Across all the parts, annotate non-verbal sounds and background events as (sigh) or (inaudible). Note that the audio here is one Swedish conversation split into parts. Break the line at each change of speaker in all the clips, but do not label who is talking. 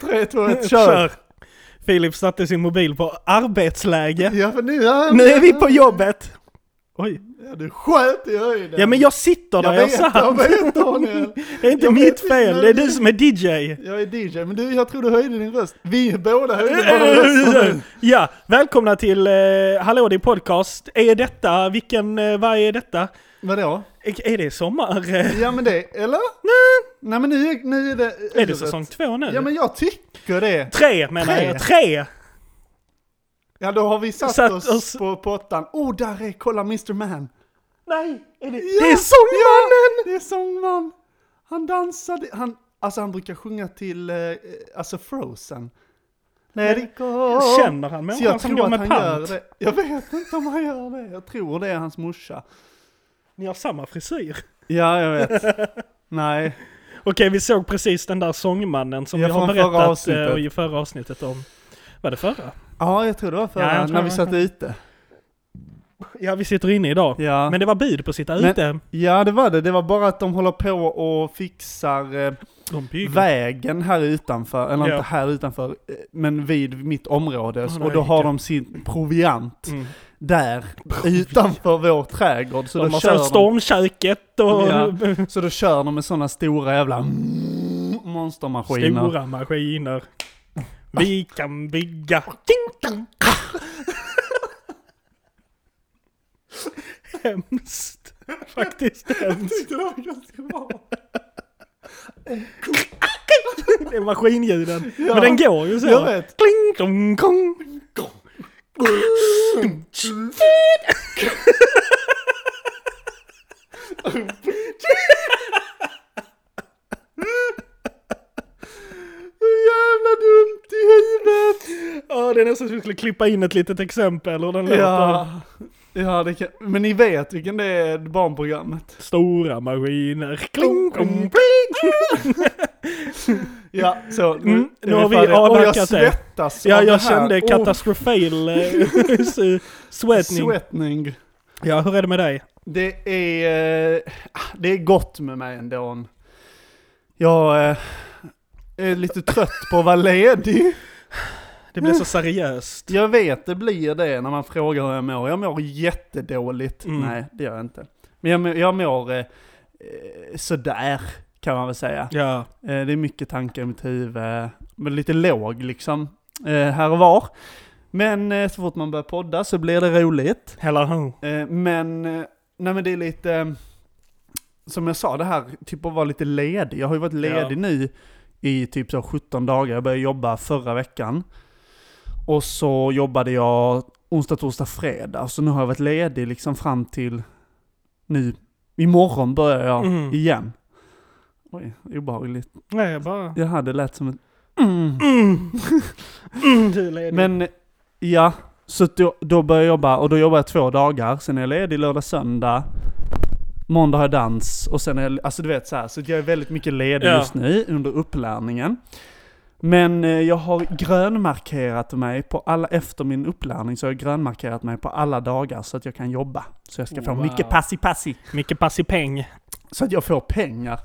3, 2,
(laughs)
1, (laughs) kör!
Filip satte sin mobil på arbetsläge.
Ja, för nu är,
Nu är vi på jobbet! Oj.
Ja, du sköt i höjden!
Ja men jag sitter där jag,
vet, jag
satt.
vet Daniel!
(laughs) Det är inte
Jag
mitt
vet inte,
fel,
men
det är
du-
du som är
(laughs)
DJ.
Jag är DJ, men du, jag tror du höjde din röst. Vi båda höjde våra
(laughs)
röster.
Ja, välkomna till eh, Hallå din podcast. Är detta, vilken, eh, vad är detta?
Vadå?
Är är
(laughs)
det sommar? eh?
Ja men det, eller?
Nej.
Nej men nu, är- nu är det...
Är det säsong två nu?
Ja men jag tycker det.
Tre menar
Tre.
jag, tre!
Ja då har vi satt,
Satt
oss,
oss-
på pottan. Oh där är, kolla Mr Man.
Nej, är det...
Ja,
det är sångmannen!
Ja, det är sångman. Han dansade, han, alltså han brukar sjunga till, eh, alltså Frozen. Let it go.
Jag känner han
Så
människan
jag
som
tror
går
att
med
han
pant?
gör det. Jag vet inte om han gör det. Jag tror det är hans morsa.
Ni har samma frisyr.
Ja, jag vet. (laughs) Nej.
Okej, vi såg precis den där sångmannen som
Ja,
vi har
från förra
berättat
avsnittet.
eh, i förra avsnittet om. Var det förra?
Ja, jag tror det var förra,
Ja, jag tror
när vi
det.
satt ute.
Ja, vi sitter inne idag.
Ja.
Men det var bud på sitta
Men-
ute.
ja, det var det. Det var bara att de håller på och fixar eh,
De bygger.
vägen här utanför, eller
Ja.
inte här utanför, eh, men vid mitt område.
Ah,
och
nej,
då har
vilka-
de sin proviant
Mm.
där, utanför vår trädgård. Så,
De
då
har
kör
sålt
de,
stormköket och (laughs)
Ja. så då kör de med sådana stora jävla mm, monstermaskiner.
stora maskiner. Vi kan bygga. Hemskt. Faktiskt hemskt.
tyckte det var ganska bra.
Det är maskinljuden.
Ja.
Men den går ju så.
Jag vet.
Kling, klong, klong.
Jävla dumt i huvudet!
Ja, det är nästan som att vi skulle klippa in ett litet exempel och den låter.
Ja, ja det kan, men ni vet vilken det är, barnprogrammet.
Stora maskiner. Kling, klong,
Ja, så.
Mm,
är
nu har vi
färdiga. Åh,
avverkat det.
jag svettas
Ja,
av
jag
det här. oh.
kände
Åh, (laughs)
katastrofal eh, s- svettning.
Svettning.
Ja, hur är det med dig?
Det är, eh, det är gott med mig ändå. Jag eh, är lite trött på att vara ledig.
Det blir
Eh.
så seriöst.
Jag vet det blir det när man frågar hur jag mår. Jag mår jättedåligt.
Mm.
Nej, det gör jag inte. Men jag, mår- jag mår eh, eh, sådär, kan man väl säga.
Ja.
Eh, Det är mycket tankar i mitt huvud, men lite låg liksom, eh, här och var. Men eh, så fort man börjar podda så blir det roligt.
Hello. ho.
Eh, Men, eh, nej men det är lite, eh, som jag sa det här, typ att vara lite ledig. Jag har ju varit ledig nu i typ så 17 dagar. Jag började jobba förra veckan. Och så jobbade jag onsdag, torsdag, fredag. Så nu har jag varit ledig liksom fram till nu. Imorgon börjar jag
Mm. igen.
igen. Oj, obehagligt.
Nej, jag bara...
Jag hade lätt som ett mm.
Mm. Mm, du är ledig.
Men ja, så att då, då började jag jobba och då jobbar jag två dagar, sen är jag ledig lördag, söndag. Måndag har jag dans och sen är jag, alltså du vet så här, så att jag är väldigt mycket ledig
Ja.
just nu under upplärningen. Men eh, jag har grönmarkerat mig på alla, efter min upplärning så har jag grönmarkerat mig på alla dagar så att jag kan jobba. Så jag ska få
Wow.
mycket passi-passi.
Mycket passipeng.
Så att jag får pengar.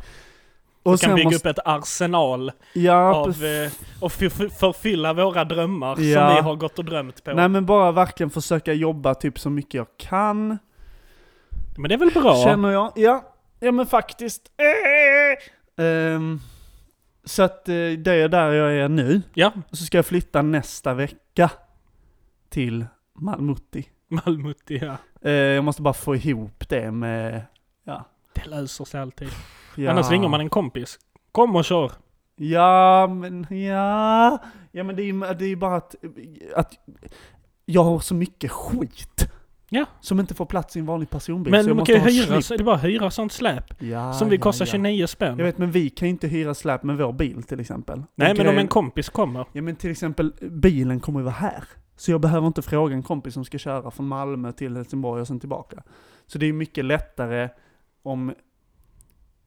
Du
Och
kan bygga upp ett arsenal
ja,
av... eh, Och förf- förfylla våra drömmar
Ja.
som vi har gått och drömt på.
Nej men bara verkligen försöka jobba typ så mycket jag kan.
Men det är väl bra?
Känner jag. Ja, ja men faktiskt. Eh. Ehm, så att eh, det är där jag är nu.
Ja,
Så ska jag flytta nästa vecka till Malmutti.
Malmuti, ja.
Eh, jag måste bara få ihop det med...
Det löser sig alltid.
Ja.
Annars ringer man en kompis. Kom och kör.
Ja, men ja. Ja men det är ju det är ju bara att, att jag har så mycket skit.
Ja.
Som inte får plats i en vanlig personbil.
Men
så jag
man
måste
kan ju
ha en
hyra,
slip.
så- det är bara att hyra sånt släp.
Ja,
Som vi
ja,
kostar
ja.
29 spänn.
Jag vet, men vi kan ju inte hyra släp med vår bil till exempel.
Nej
Och
men om
grejen-
en kompis kommer.
Ja men till exempel, bilen kommer ju vara här. Så jag behöver inte fråga en kompis som ska köra från Malmö till Helsingborg och sen tillbaka. Så det är mycket lättare om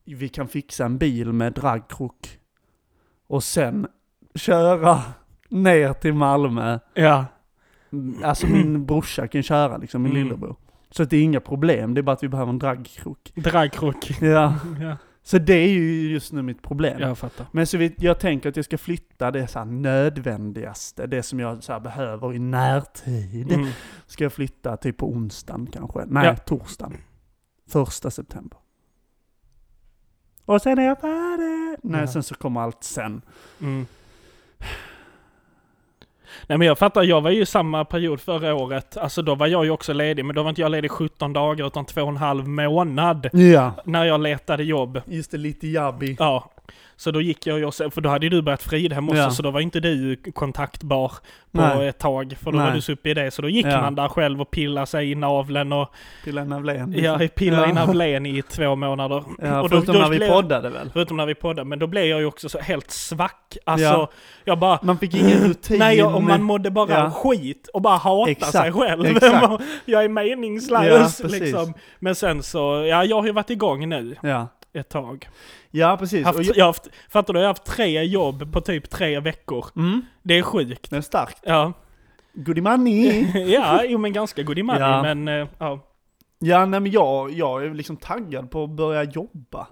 vi kan fixa en bil med dragkrok och sen köra ner till Malmö.
Ja.
Alltså
(clears throat)
min brorsa kan köra liksom, min
Mm.
lillebror. Så att det är inga problem, det är bara att vi behöver en dragkrok.
Dragkrok.
(laughs) Ja.
Ja.
Så det är ju just nu mitt problem.
Jag fattar.
Men så vi, jag tänker att jag ska flytta det så här nödvändigaste, det som jag så här behöver i närtid.
Mm.
Ska jag flytta typ på onsdagen kanske? Nej,
Ja.
torsdagen. Första september. Och sen är jag färdig! Nej,
Ja.
sen så kommer allt sen.
Mm. Nej men jag fattar, jag var ju i samma period förra året. Alltså då var jag ju också ledig, men då var inte jag ledig 17 dagar utan två och en halv månad.
Ja.
När jag letade jobb.
Just det, lite jabbi.
Ja. Så då gick jag ju också, för då hade ju du börjat Fridhem också,
Ja.
så då var inte du kontaktbar på
Nej.
ett tag. För då var
Nej.
du så uppe i det, så då gick
Ja.
man där själv och pillade sig i naveln och
Pilla Navlén.
ja, pillade i
Ja.
naveln i två månader.
Ja,
(laughs) och
förutom när vi
blev-
poddade väl?
Förutom när vi poddade, men då blev jag ju också så helt svack. Alltså,
Ja.
jag bara...
Man fick ingen rutin.
Nej, jag, och man mådde bara
Ja.
skit och bara hata
Exakt,
sig själv. (laughs)
exakt.
jag är meningslös
Ja, precis.
liksom. Men sen så, ja, jag har ju varit igång nu
Ja,
ett tag.
ja precis.
Haft,
Och jag...
jag har haft, fattar du, jag har haft tre jobb på typ tre veckor.
Mm,
Det är sjukt.
det är starkt.
Ja,
Goodie
(laughs)
money!
ja jo, men ganska god i money,
Mm. Ja.
men eh, ja.
Ja, nej men jag, jag är liksom taggad på att börja jobba.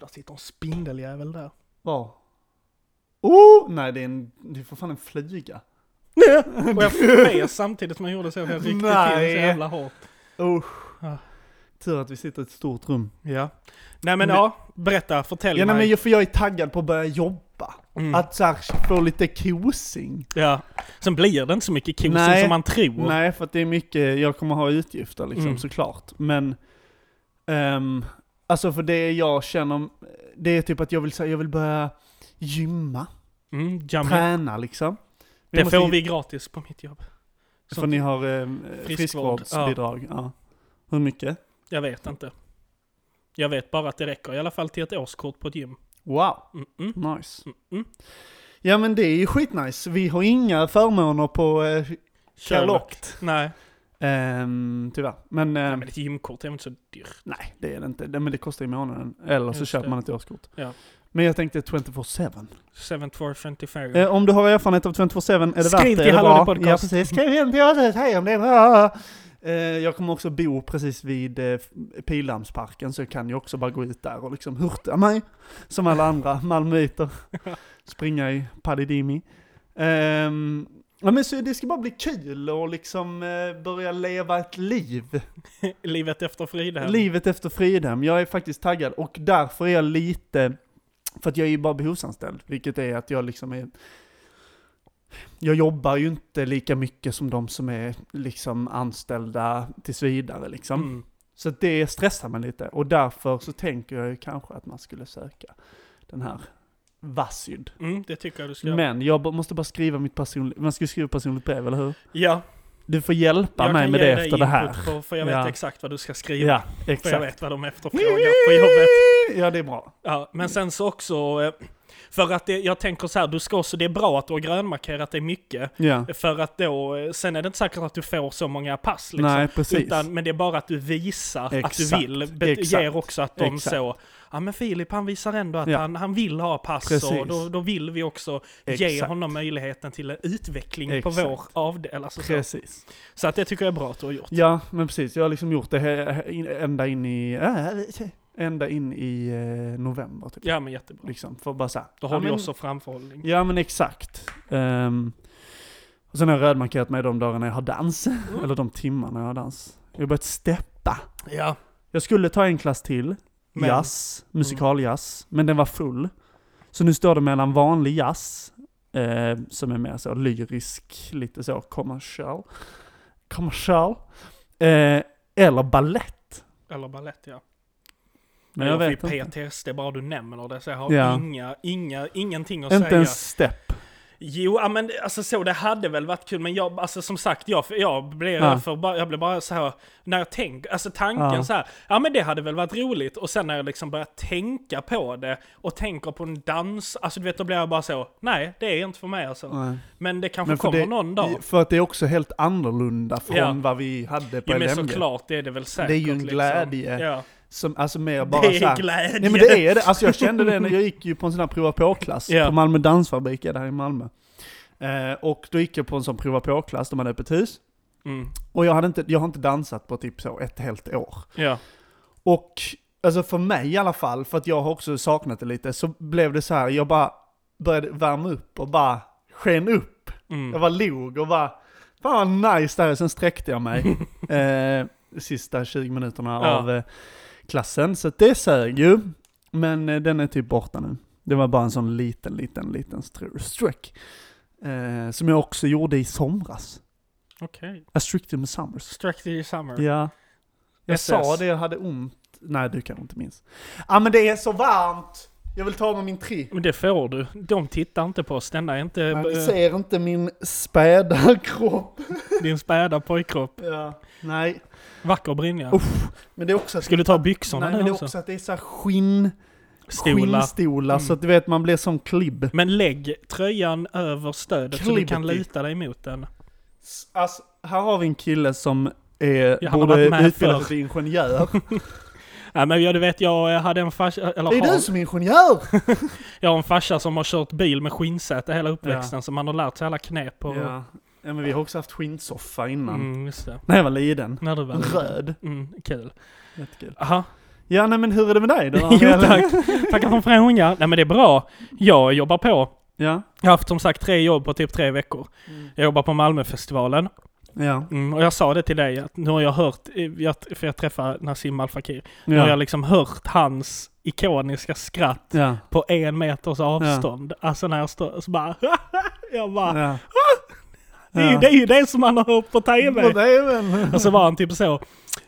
Där sitter en spindeljävel där.
Var? Oh! Nej, det är, en, det är för fan en flyga.
Och jag fes samtidigt som jag gjorde så, för jag ryckte till
Nej.
så jävla hårt.
Usch.
Ja.
Tur att vi sitter i ett stort rum.
Ja. Nej men
Men-
ja, berätta, fortälj
Ja, nej, men
mig.
jag- för jag är taggad på att börja jobba.
Mm.
Att så här, få lite kosing.
Ja. Sen blir det inte så mycket kosing
Nej.
som man tror.
Nej, för att det är mycket, jag kommer ha utgifter liksom
Mm.
såklart. Men, ehm, alltså för det jag känner, det är typ att jag vill, så här, jag vill börja gymma,
Mm, jamme.
träna liksom. Vi
Det
måste
får
ju-
vi gratis på mitt jobb.
För ni har eh,
Friskvård,
friskvårdsbidrag. Ja. Hur mycket?
Jag vet inte. Jag vet bara att det räcker i alla fall till ett årskort på ett gym.
Wow,
Mm -mm.
nice.
Mm -mm.
Ja men det är ju skitnice. Vi har inga förmåner på eh, Kalockt.
Nej.
Ehm, tyvärr. Men,
Nej,
eh,
men ett gymkort är väl inte så dyrt?
nej, det är det inte. Det, men det kostar i månaden. Eller så
Just
köper
det.
man ett årskort.
Ja.
Men jag tänkte 24-7.
7425.
Eh, om du har erfarenhet av 24-7 är det
Skriv
värt det?
till
är det
Hallå,
bra?
det är podcast.
Ja precis. Skriv in till oss och säg om det är bra. Eh, jag kommer också bo precis vid eh, Pildammsparken så jag kan ju också bara gå ut där och liksom hurta mig. Som alla andra (laughs) malmöiter. Springa i Padidimi. Ehm, ja men så det ska bara bli kul och liksom eh, börja leva ett liv.
Livet efter Fridhem.
Livet efter Fridhem. Jag är faktiskt taggad och därför är jag lite, för att jag är ju bara behovsanställd, vilket är att jag liksom är, jag jobbar ju inte lika mycket som de som är liksom anställda tills vidare liksom.
Mm.
Så att det stressar mig lite och därför så tänker jag ju kanske att man skulle söka den här Vassyd.
Mm, det tycker jag du ska göra.
Men jag b- måste bara skriva mitt personliga, man ska ju skriva personligt brev, eller hur?
Ja,
Du får hjälpa
jag
mig
kan
med
ge
det
dig
efter det här.
input På, för jag vet
Ja.
exakt vad du ska skriva.
Ja,
För jag
exakt.
vet vad de efterfrågar på jobbet.
Ja, det är bra.
Ja, men sen så också, eh, för att det, jag tänker så här, du ska också, det är bra att du har grönmarkerat dig mycket,
Ja.
för att då, eh, sen är det inte säkert att du får så många pass liksom.
Nej, precis.
Utan, men det är bara att du visar att du
Exakt,
vill. Bet-
exakt,
ger också att de
exakt.
så, ja men Filip han visar ändå att
Ja.
han, han vill ha pass
Precis.
och då, då vill vi också ge
Exakt.
honom möjligheten till en utveckling på
Exakt.
vår avdel. Alltså så.
Precis.
så att det tycker jag är bra att du har gjort.
Ja, men precis. Jag har liksom gjort det här- här in- ända in i... äh, Ända in i eh, november typ.
Ja men jättebra.
Liksom, för att bara såhär.
Då har
ja,
du
men,
också framförhållning.
Ja men exakt. Ehm, och sen har jag rödmarkerat mig de dagarna jag har dans.
Mm.
Eller de timmarna jag har dans. Jag har börjat steppa.
Ja.
Jag skulle ta en klass till.
Men-
Jazz. Musikaljazz. Men den var full. Så nu står det mellan vanlig jazz, eh, som är mer så lyrisk, lite så kommersiell. Kommersiell. Eh, eller ballett.
Eller balett ja.
Men jag, vet
fick
inte.
PTSD bara du nämner det, så jag har
Ja.
inga, inga, ingenting att
Inte
säga.
ens stepp.
Jo, ja, men alltså så det hade väl varit kul, men jag, alltså som sagt, jag, jag, blev,
Ja.
för, bara- jag blev bara så här, när jag tänker, alltså tanken
Ja.
så här, ja men det hade väl varit roligt, och sen när jag liksom börjar tänka på det, och tänker på en dans, alltså du vet, då blir jag bara så, nej, det är inte för mig alltså.
Nej.
Men det kanske
Men för,
kommer
det,
någon dag.
för att det är också helt annorlunda från
Ja.
vad vi hade på
Jo men
LMG.
såklart, det är det väl säkert.
Det är ju en glädje.
Liksom. Ja.
Som, alltså mer bara
det
så
är
här,
glädje!
Nej men det är det, alltså jag kände det när jag gick ju på en sån här prova på-klass
Ja.
på Malmö dansfabrik, är det här i Malmö. Eh, och då gick jag på en sån prova på-klass, de hade öppet hus.
Mm.
Och jag, hade inte, jag har inte dansat på typ så ett helt år.
Ja.
Och alltså för mig i alla fall, för att jag har också saknat det lite, så blev det så här, jag bara började värma upp och bara sken upp.
Mm.
Jag var log och bara, fan vad nice det här är." sen sträckte jag mig. eh, sista 20 minuterna
Ja.
av eh, klassen, så att det sög ju. Men eh, den är typ borta nu. Det var bara en sån liten, liten, liten str- streck. Eh, som jag också gjorde i somras.
Okej. Okay.
A strict in the summers.
Strack the summer.
Ja. Jag
SS.
sa det, jag hade ont. Nej, du kanske inte minns. Ja men det är så varmt! Jag vill ta med min tri.
Men det får du. De tittar inte på oss. Denna är inte
Men ni
eh,
ser inte min späda kropp.
din späda pojkkropp.
Ja. Nej.
Vacker brynja.
Uff, Men det är också att,
Ska du ta byxorna
Oh. nej, men det
nu
är
också?
också att det är så här skinn,
Stolar.
skinnstolar så
Mm.
att du vet man blir som klibb.
Men lägg tröjan över stödet så du kan
Klibbety.
luta dig mot den.
S- Alltså, här har vi en kille som är,
Ja, han har
borde
varit med
utbilda
förr.
sig till
(laughs)
ingenjör.
Nej men jag, du vet, jag eh, hade en farsa, eller
det är
har,
du som är ingenjör!
jag har en farsa som har kört bil med skinnsäte hela uppväxten, som han har lärt sig alla knep på.
Ja. ja men vi har också haft skinnsoffa innan.
Mm, just det.
När jag var liten.
När du väl...
Röd.
Mm, kul.
Jättekul.
Aha.
Ja nej men hur är det med dig då? (laughs)
Jo tack. (laughs) Tackar för frågan. Nej men det är bra. Jag jobbar på.
Ja.
Jag har haft som sagt tre jobb på typ tre veckor. Jag jobbar på Malmöfestivalen.
Ja.
Mm, och jag sa det till dig, att nu har jag hört, eh, jag, för jag träffade Nassim Al Fakir, nu har jag
Ja.
liksom hört hans ikoniska skratt
Ja.
på en meters avstånd. Alltså när jag står så bara... (laughs) jag bara...
Ja.
Ah. (laughs) Det, är ju,
Ja.
det är ju det som man har hört
På
på TV!
TVn.
(laughs) Och så var han typ så...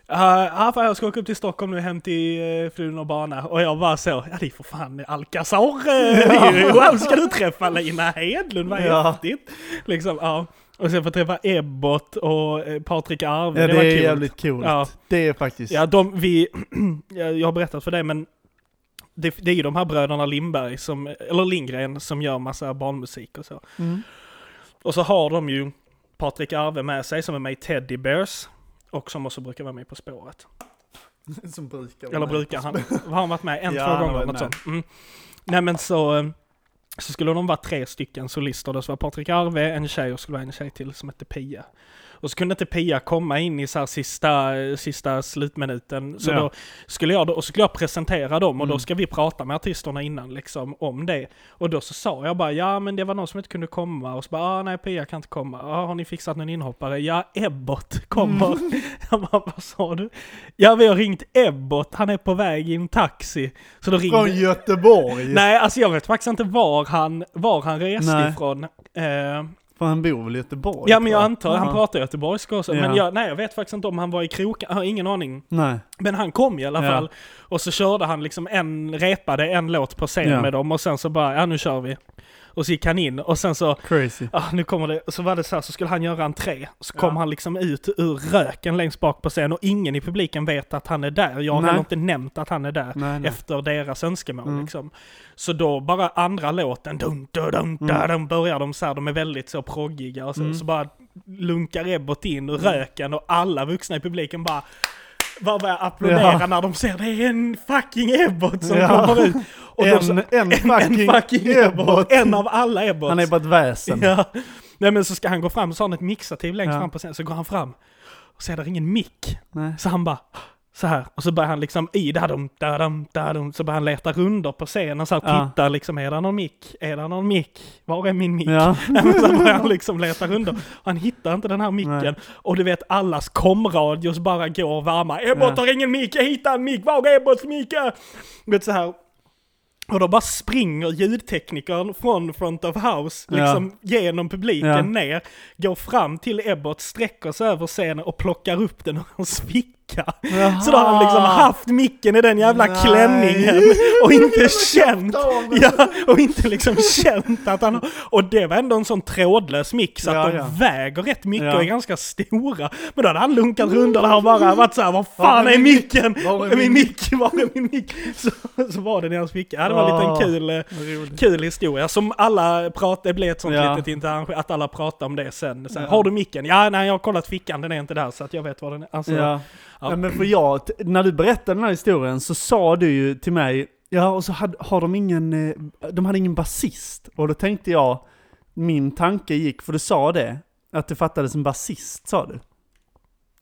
"Ah, Ja, fan jag ska åka upp till Stockholm nu hem till uh, frun och barna. Och jag bara så, ja det är för fan Alcazar! eh, det är ju- Wow, ska du träffa Lina Hedlund? Vad
Ja.
häftigt! Liksom, ja. Och sen få träffa Ebbot och eh, Patrik Arve,
Ja det
var
är
kul.
jävligt coolt.
Ja.
Det är faktiskt...
Ja, de, vi, (clears throat) jag jag har berättat för dig, men det, det är ju de här bröderna Lindberg, som, eller Lindgren, som gör massa barnmusik och så. (laughs)
Mm.
Och så har de ju Patrik Arve med sig, som är med i Teddy Bears, och som också brukar vara med På spåret.
Som brukar vara
Eller
med.
brukar han? Har han varit med
(laughs)
en,
Ja, eh, han
två
har
gånger
varit
eller något sånt? Mm. Nej men så, eh, så skulle de vara tre stycken solister. Det skulle vara Patrik Arve, en tjej och skulle vara en tjej till som hette Pia. Och så kunde inte Pia komma in i så här sista, eh, sista slutminuten. Så
Ja.
då skulle jag, då- och så skulle jag presentera dem och då
Mm.
ska vi prata med artisterna innan liksom om det. Och då så sa jag bara ja men det var någon som inte kunde komma och så bara ah, nej Pia kan inte komma. Ah, har ni fixat någon inhoppare? Ja Ebbot
(laughs)
kommer. (laughs) Jag bara vad sa du? Ja vi har ringt Ebbot, han är på väg i en taxi. Så då ringde...
Från Göteborg.
Nej alltså jag vet faktiskt inte var han, var han reste
Nej.
ifrån. Eh,
För han bor väl i Göteborg?
ja men jag
tror
antar, han
Ja.
pratar göteborgska också.
Ja.
Men jag, nej jag vet faktiskt inte om han var i kroken, jag har ingen aning.
Nej.
Men han kom i alla
Ja.
fall. Och så körde han liksom en, repade en låt på scen
Ja.
med dem och sen så bara, ja nu kör vi. Och så gick han in och sen så,
Crazy.
ah, nu kommer det, så var det så här, så skulle han göra entré. Så
Ja.
kom han liksom ut ur röken längst bak på scen och ingen i publiken vet att han är där. Jag har
Nej.
heller inte nämnt att han är där.
Nej, nej.
Efter deras önskemål
Mm.
liksom. Så då bara andra låten, dum, dum, dum,
Mm.
dum, börjar de så här, de är väldigt så proggiga och så,
Mm.
så bara lunkar Ebbot in och röken och alla vuxna i publiken bara bara börjar applådera
Ja.
när de ser det är en fucking Ebbot som
Ja.
kommer ut. Och då så,
en, en fucking,
(laughs) en fucking Ebbot! En av alla Ebbots.
Han är bara ett väsen.
Ja. Nej men så ska han gå fram, så har han ett mixativ längst
Ja.
fram på scenen, så går han fram. Och så är det ingen mick.
Nej.
Så han bara så här och så börjar han liksom i där dum, där dum, där dum, så börjar han leta runder på scenen så här,
Ja.
titta liksom, är det någon mick? Är det någon mick? Var är min mick?
Ja.
(laughs) Nej, men så börjar han liksom leta runder. Och han hittar inte den här micken.
Nej.
Och du vet allas komradios bara går varma. Ebbot
Ja.
har ingen mick, jag hittar en mick, var är Ebbots mick? Du vet så här. Och då bara springer ljudteknikern från front of house,
Ja.
liksom genom publiken
Ja.
ner, går fram till Ebbot, sträcker sig över scenen och plockar upp den ur (laughs) hans ficka. Så då har han liksom haft micken i den jävla
Nej.
klänningen och inte känt,
av den.
ja, och inte liksom känt att han Och det var ändå en sån trådlös mix, att
Ja,
de
ja.
väger rätt mycket
Ja.
och är ganska stora. Men då hade han lunkat runt och det har bara varit såhär, vad fan
Var
är
är
micken? Var
Var
är
är min
min mick? Var är min mick? Så, så var den i hans ficka. Ja, det var en
Ah.
liten kul, eh, kul historia som alla pratade, det blev ett sånt
Ja.
litet internt, att alla pratade om det sen. sen
Ja.
Har du micken? Ja, nej jag har kollat fickan, den är inte där så att jag vet var den är. Alltså,
Ja.
Ja.
Nej, men för jag, t- när du berättade den här historien så sa du ju till mig, ja och så hade, har de ingen, eh, de hade ingen basist. Och då tänkte jag, min tanke gick, för du sa det, att det fattades en basist sa du.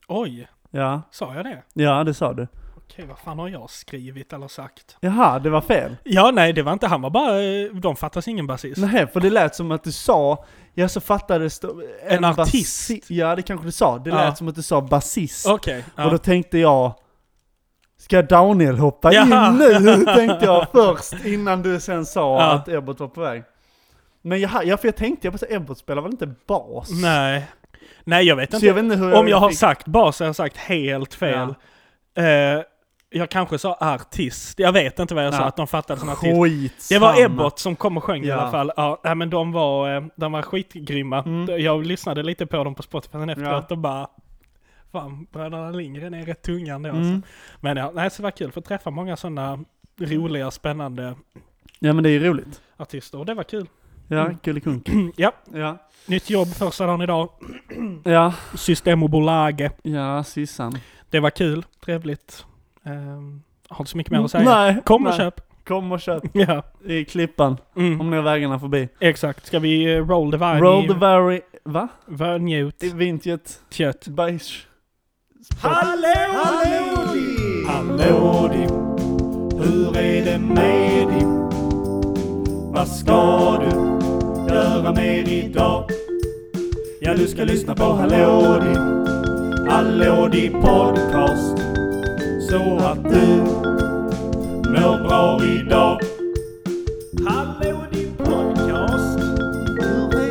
Oj,
Ja,
sa jag det?
ja det sa du.
okej, vad fan har jag skrivit eller sagt?
Jaha, det var fel.
Ja, nej, det var inte han, var bara, eh, de fattas ingen basist.
Nej, för det lät som att du sa, ja så fattades det...
En
basi-
artist.
Ja, det kanske du sa. Det
Ja.
lät som att du sa basist.
Okej.
Och då
ja.
tänkte jag, ska Daniel hoppa
Jaha.
in nu? (laughs) tänkte jag först, innan du sen sa
Ja.
att Ebbot var på väg. Men jag, ja, för jag tänkte, jag bara, så, Ebbot spelar väl inte bas?
Nej. Nej, jag vet
Så
inte.
jag vet inte hur
Om jag har
fick-
sagt bas så har jag sagt helt fel. Eh, jag kanske sa artist. Jag vet inte vad jag sa,
Ja.
att de fattade som artist. Det
Skitsamma.
var Ebbot som kom och sjöng i
Ja.
alla fall. Ja, nej, men de var, eh, de var skitgrymma.
Mm.
Jag lyssnade lite på dem på Spotify sen efteråt och bara Fan, bröderna Lindgren är rätt tunga ändå
Mm.
alltså. Men ja, nej, så det var kul för att träffa många sådana roliga, spännande
Ja men det är ju roligt.
artister och det var kul. (clears throat)
Ja,
Mm.
kullekunk.
ja,
Ja.
nytt jobb första dagen idag.
Ja,
Systembolaget.
ja Sissan.
Det var kul, trevligt. Ehm, har inte så mycket mer att säga.
Nej,
Kom och
nej.
köp!
Kom och köp
Ja,
i Klippan,
mm,
om ni har vägarna förbi.
exakt. Ska vi eh, roll the vine?
Roll
i-
the very... Va?
Värnjut.
I Vinjet,
Kött.
bajs.
Hallå!
Hallå Dipp, hur är det med Dipp? Vad ska du göra mer idag? Ja, du ska lyssna på Hallå Dipp, Hallå Dipp podcast. Så att du mår bra idag. Hallå Dipp podcast. Hur är det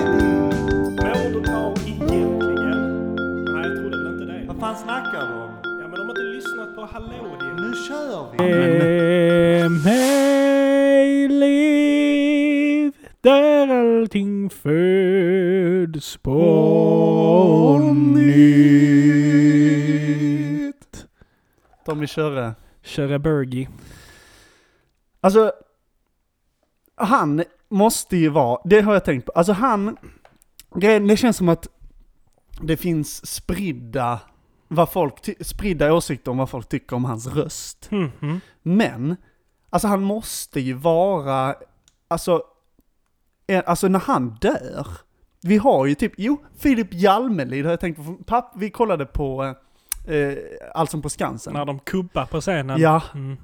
med Dipp?
Mår du bra egentligen? Nej, jag trodde väl inte det.
Vad fan snackar du om?
Ja, men de har inte lyssnat på Hallå din.
Nu kör vi!
Mig liv där allting föds på nytt.
Tommy Körre.
Köra Bergie.
Alltså, han måste ju vara, det har jag tänkt på, alltså han, grejen- det känns som att det finns spridda, vad folk, ty- spridda åsikter om vad folk tycker om hans röst.
Mhm.
Men, alltså han måste ju vara, alltså, en, alltså när han dör, vi har ju typ, jo, Filip Jalmelid har jag tänkt på, papp, vi kollade på eh, eh, Allsång på Skansen.
När de kubbar på scenen.
Ja,
Mm.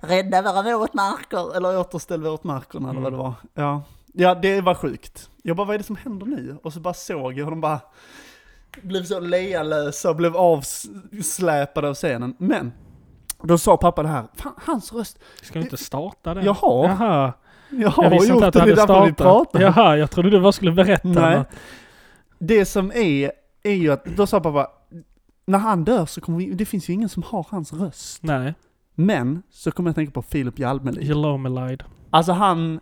Rädda våra Mm. våtmarker.
eller återställ våtmarkerna eller vad det var. Ja. ja, det var sjukt. Jag bara, vad är det som händer nu? Och så bara såg jag hur de bara blev så lealösa och blev avsläpade av scenen. Men, då sa pappa det här, fan hans röst,
Ska du inte starta det?
jaha,
Jaha.
jag
Jag
har
visste
gjort
inte
det,
att
det
du
är
hade
därför vi
startat.
pratar.
Jaha, jag trodde du bara skulle berätta
Nej.
något.
Det som är, är ju att, då sa pappa, när han dör så kommer vi, det finns ju ingen som har hans röst.
Nej.
Men, så kommer jag att tänka på Filip Jalmelid.
Jelomelide.
Alltså han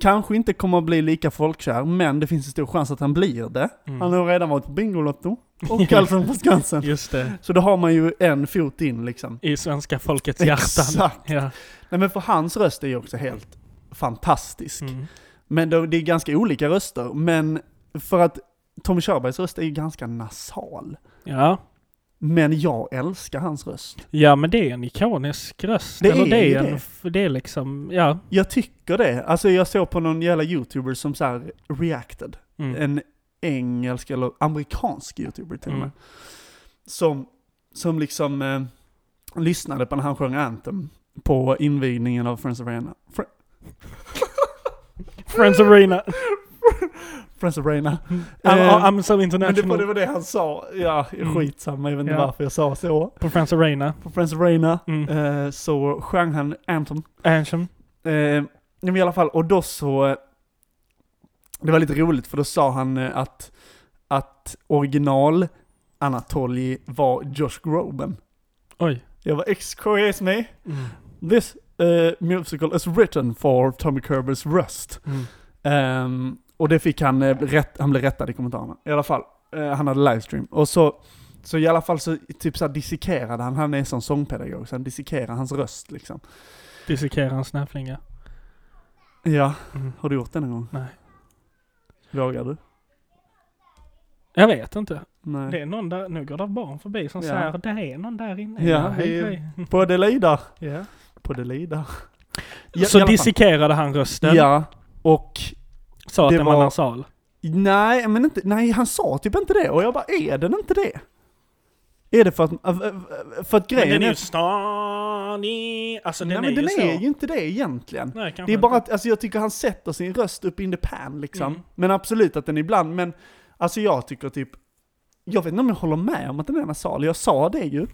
kanske inte kommer att bli lika folkkär, men det finns en stor chans att han blir det.
Mm.
Han har redan varit på
(laughs)
Bingolotto och Allsång på Skansen.
Just det.
Så då har man ju en fot in liksom.
I svenska folkets hjärtan.
Exakt.
Ja.
Nej men för hans röst är ju också helt fantastisk.
Mm.
Men då, det är ganska olika röster, men för att Tommy Körbergs röst är ju ganska nasal.
ja.
Men jag älskar hans röst.
Ja men det är en ikonisk röst.
Det
Eller
är
det
ju
är
det.
en, det. det är liksom, ja.
Jag tycker det. Alltså jag såg på någon jävla youtuber som så här reacted.
Mm.
en engelsk eller amerikansk youtuber till och med.
Mm.
Som, som liksom eh, lyssnade på när han sjöng Anthem på invigningen av Friends of Arena. Fr-
Friends Arena.
Friends of Arena.
I'm,
Eh,
I'm so
Men det, var- det
international.
var det han sa. Ja,
Mm.
skitsamma. Jag vet inte
Ja.
varför jag sa så.
På Friends Arena.
På Friends of Arena
Mm.
eh, så sjöng han Anthem.
Anthem.
Eh, nej, men i alla fall, och då så... eh, Det var lite roligt för då sa han eh, att, att original Anatoly var Josh Groban.
Oj.
Jag var excuse me.
Mm.
This eh, musical is written for Tommy Kerbers röst.
Mm.
Ehm, och det fick han eh, rätt, han blev rättad i kommentarerna. I alla fall, eh, han hade livestream. Och så, så i alla fall så typ så här dissekerade han, han är som sångpedagog, så han dissekerade hans röst liksom.
Dissekera en snäflinga.
Ja,
Mm.
har du gjort det någon gång?
Nej.
Vågar du?
Jag vet inte.
Nej.
Det är någon där, nu går det barn förbi som
Ja.
säger det är någon där inne.
Ja,
hej,
det är-
hej.
På det lider.
Ja.
På det lider. i
Så
alla fall.
dissekerade han rösten.
Ja, och
Sa att
Det
den var
var-
nasal.
nej, men inte, nej han sa typ inte det och jag bara, är den inte det? Är det för att, för att
Men
grejen
den är
är...
ju stadig. Alltså den
nej
är
men
ju
den
så.
är ju inte det egentligen.
Nej, kanske
Det är bara
inte.
att, alltså jag tycker han sätter sin röst upp in the pan liksom.
Mm.
Men absolut att den ibland, men alltså jag tycker typ, jag vet inte om jag håller med om att den är nasal, jag sa det
(laughs)
ju.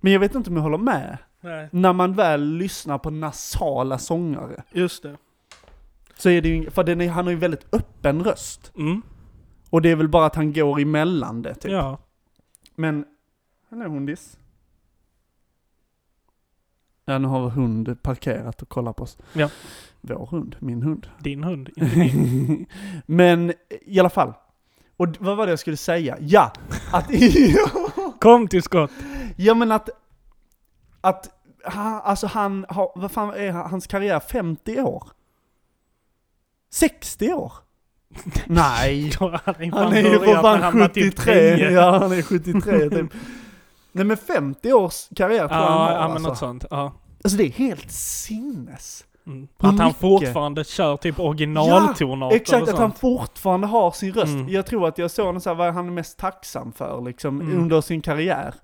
men jag vet inte om jag håller med.
Nej,
När man väl lyssnar på nasala sångare,
just det.
så är det ju, för den är, han har ju väldigt öppen röst.
Mm.
Och det är väl bara att han går emellan det typ.
Ja.
Men, eller hundis. Ja nu har vår hund parkerat och kollar på oss.
Ja.
Vår hund, min hund.
Din hund, inte min.
(laughs) Men i alla fall. Och d- vad var det jag skulle säga? Ja! Att, (laughs)
Kom till (laughs) skott.
ja men att... Att ha, alltså han har, vad fan är han- hans karriär? 50 år? 60
(laughs)
år? Nej!
Då hade ju
Han
fan
är ju för
börjat när han
fan
var typ
73!
tio.
ja, han är 73 typ. Nej men 50 års karriär tror jag han
Ja,
har,
ja men
alltså.
något sånt. Ja.
alltså det är helt sinnes.
Mm.
Hur
Att han
mycket?
fortfarande kör typ originaltonarter och
Exakt, att han
sånt.
fortfarande har sin röst.
Mm.
Jag tror att jag såg honom så här, vad är han mest tacksam för liksom,
Mm.
under sin karriär.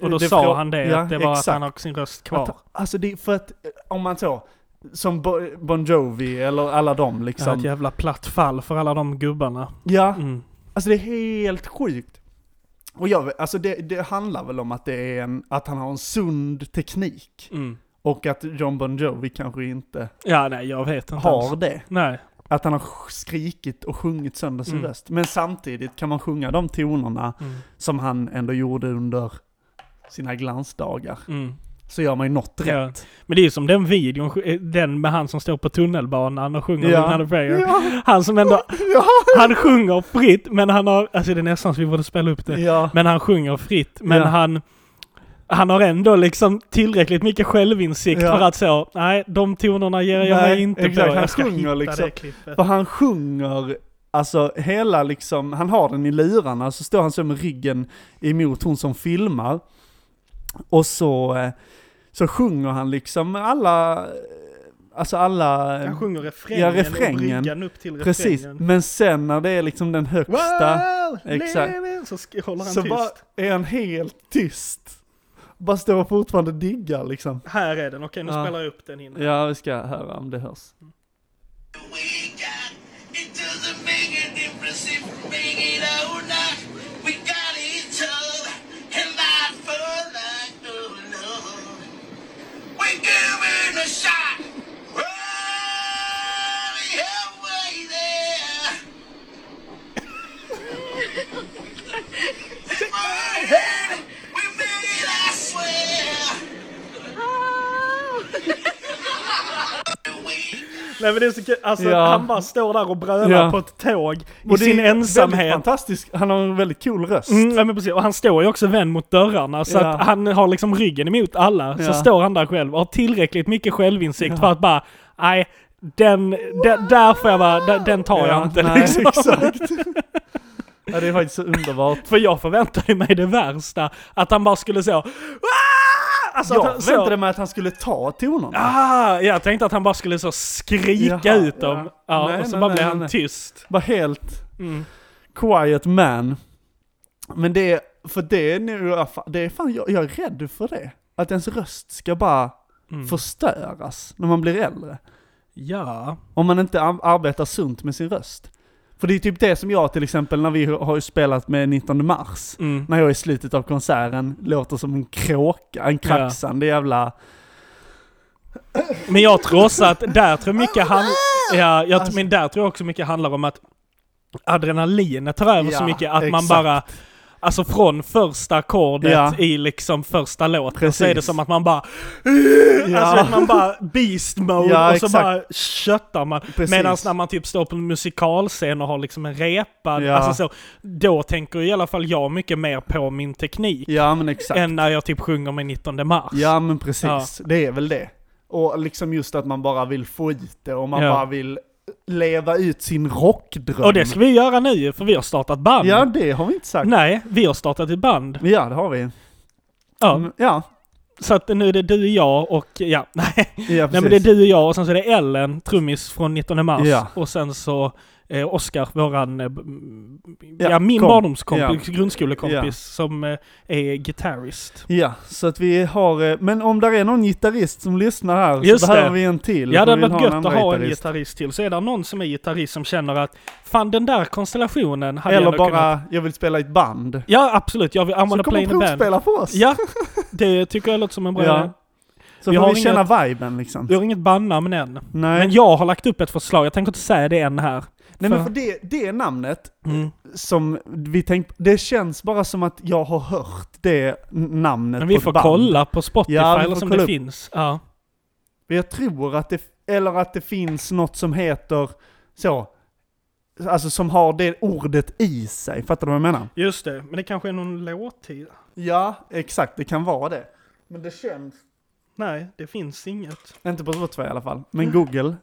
och då
Det
sa
frå-
han det,
Ja,
att det var
exakt.
att han har sin röst kvar.
Att, alltså det, för att, eh, om man så, som Bo- Bon Jovi eller alla dem
Ja,
liksom.
ett
Ja,
jävla platt fall för alla de gubbarna. Mm.
alltså det är helt sjukt. Och jag, alltså det, det handlar väl om att det är en, att han har en sund teknik.
Mm.
Och att John Bon Jovi kanske inte
Ja, nej jag vet inte
har
ens.
det.
Nej.
Att han har sk- skrikit och sjungit sönder sin
Mm.
röst. Men samtidigt kan man sjunga de tonerna
Mm.
som han ändå gjorde under sina glansdagar.
Mm.
Så gör man ju något
Ja.
rätt.
Men det är ju som den videon, eh, den med han som står på tunnelbanan och sjunger
Ja.
ja. Another Prayer.
Ja,
Han som ändå,
ja,
han sjunger fritt men han har, alltså det är nästan så vi borde spela upp det.
ja.
Men han sjunger fritt men
Ja.
han, han har ändå liksom tillräckligt mycket självinsikt
Ja.
för att så, nej de tonerna ger jag
Nej,
mig inte
exakt.
på.
Han
Jag ska
sjunger
hitta
liksom.
det klippet.
För han sjunger, alltså hela liksom, han har den i lurarna, så står han så med ryggen emot hon som filmar. Och så, eh, så sjunger han liksom alla, eh, alltså alla...
Han sjunger refrängen,
Ja, refrängen.
och bryggan upp till refrängen.
Precis, men sen när det är liksom den högsta
Wow,
Exakt.
living, så sk- håller han
så
tyst.
bara är han helt tyst. Bara står och fortfarande diggar liksom.
Här är den, okej nu
Ja.
spelar jag upp den innan.
Ja, vi ska höra om det hörs.
we got, it doesn't make a difference if we make it or not. We got each other, and life for life, oh Lord. We giving a shot. We're halfway there. In my head, we made it, I swear. (laughs) We
Nej men det är så kul, alltså
Ja.
han bara står där och brölar
Ja.
på ett tåg i
Och det är
sin
väldigt
ensamhet.
Fantastisk, han har en väldigt cool röst.
Mm, nej, men precis. Och han står ju också vänd mot dörrarna så
Ja.
att han har liksom ryggen emot alla.
Ja.
Så står han där själv och har tillräckligt mycket självinsikt för att bara, nej, den, den, där får jag bara, den, den tar jag
(laughs)
inte
nej,
liksom.
exakt. ja, det är faktiskt så underbart.
(laughs) För jag förväntade mig det värsta, att han bara skulle så, "Wah!" alltså, att han-
Jag
så-
väntade mig att han skulle ta tonerna.
Ah, jag tänkte att han bara skulle så skrika
Jaha,
ut dem.
ja.
Ja.
Nej,
och så
nej,
bara
nej,
blev
nej,
han
nej.
tyst.
Var helt quiet man. Men det är, för det är nu, det är fan, jag, jag är rädd för det. Att ens röst ska bara förstöras när man blir äldre.
Ja.
Om man inte ar- arbetar sunt med sin röst. För det är typ det som jag till exempel när vi har ju spelat med 19 mars.
Mm.
När jag i slutet av konserten låter som en kråka, en kraxande jävla...
Men jag tror också att där tror jag
Oh,
mycket han... Ja, jag,
Alltså-
men där tror jag också mycket handlar om att adrenalinet tar över
Ja,
så mycket att man
exakt.
bara... Alltså från första ackordet
Ja.
i liksom första låten så är det
Precis.
som att man bara... Alltså att man bara beast mode
Ja,
och så
exakt.
bara köttar man.
Precis.
Medan när man typ står på en musikalscen och har liksom en repad,
Ja.
alltså så, då tänker i alla fall jag mycket mer på min teknik
Ja men exakt.
än när jag typ sjunger med 19 mars.
Ja men precis, det är väl det. Och liksom just att man bara vill få ut det och man
Ja.
bara vill leva ut sin rockdröm.
Och det ska vi göra nu, för vi har startat band.
Ja det har vi inte sagt.
Nej, vi har startat ett band.
Men Ja det har vi.
Ja,
Mm, Ja,
så att nu är det du, jag och... Ja, nej.
ja precis.
nej men det är du, jag och sen så är det Ellen, trummis från 19 mars.
Ja.
Och sen så eh, Oskar, våran, eh, b- m- ja,
Ja,
min
kom.
barndomskompis, grundskolekompis
Ja.
som eh, är gitarrist.
Ja, så att vi har... eh, Men om där är någon gitarrist som lyssnar här
Just
så behöver
det.
vi en till.
Ja,
för
det
vi
hade
vill
varit
en
gött att
andra
ha en gitarrist till. Så är det någon som är gitarrist som känner att fan den där konstellationen hade jag
Eller
ändå
bara,
kunnat...
jag vill spela i ett band.
Ja, absolut. Jag vill
Så
använda
kommer
play in a band.
provspela för oss.
Ja, det tycker jag låter som en bra
Ja.
idé.
Så
Vi
får
har
vi känna viben liksom.
Vi har inget bandnamn än.
Nej.
Men jag har lagt upp ett förslag, jag tänker inte säga det än här.
Nej men
för-
för det, det namnet
Mm.
som vi tänkte, det känns bara som att jag har hört det n- namnet
Men
på
vi
ett
får
band.
kolla på Spotify
Ja, vi får
eller som
kolla
det
upp.
finns. Ja.
Men jag tror att det, eller att det finns något som heter så, alltså som har det ordet i sig. Fattar du vad jag menar?
Just det, men det kanske är någon låttid?
Ja, exakt. Det kan vara det. Men det känns...
Nej, det finns inget.
Inte på Spotify i alla fall. Men Google,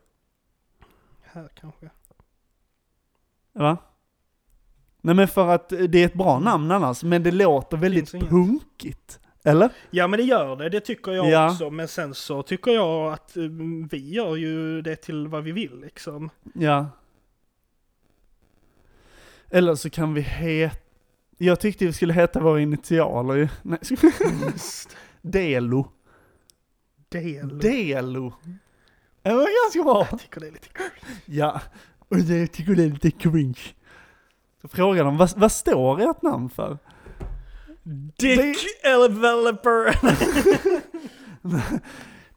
Här kanske.
va? Nej men för att det är ett bra namn annars, men det låter väldigt
Finns inget.
punkigt. Eller?
Ja men det gör det, det tycker jag
Ja.
också. Men sen så tycker jag att mm, vi gör ju det till vad vi vill liksom.
Ja. Eller så kan vi heta... Jag tyckte vi skulle heta våra initialer ju. Nej. Mm. Delo.
Del.
Delo. Det var ganska bra.
Jag tycker det är lite
Ja. Och det tycker det är lite cringe. Så frågar de, vad, vad står ert namn för?
Dick Developer!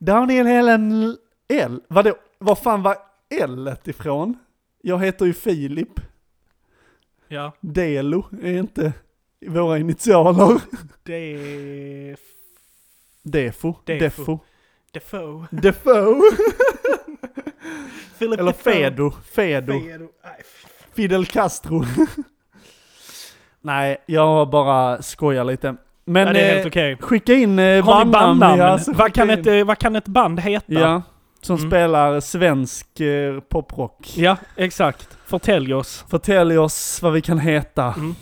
Daniel Helen L. Vadå? Var fan var L ifrån? Jag heter ju Filip.
Ja,
Delo är inte våra initialer.
det...
Defo.
Defo.
Defo.
Defoe.
Defo.
Philip
Eller
Defoe.
Fedo. Fedo.
Fedo. Nej, f-
Fidel Castro. (laughs) Nej, jag bara skojar lite. Men
Ja, det är
eh,
helt okej.
skicka in eh,
Har ni bandnamn?
ja, så
vad,
skicka
kan
in.
ett, eh, vad kan ett band heta?
Ja, som
Mm.
spelar svensk eh, poprock.
Ja, exakt. Förtälj oss.
Förtälj oss vad vi kan heta.
Mm.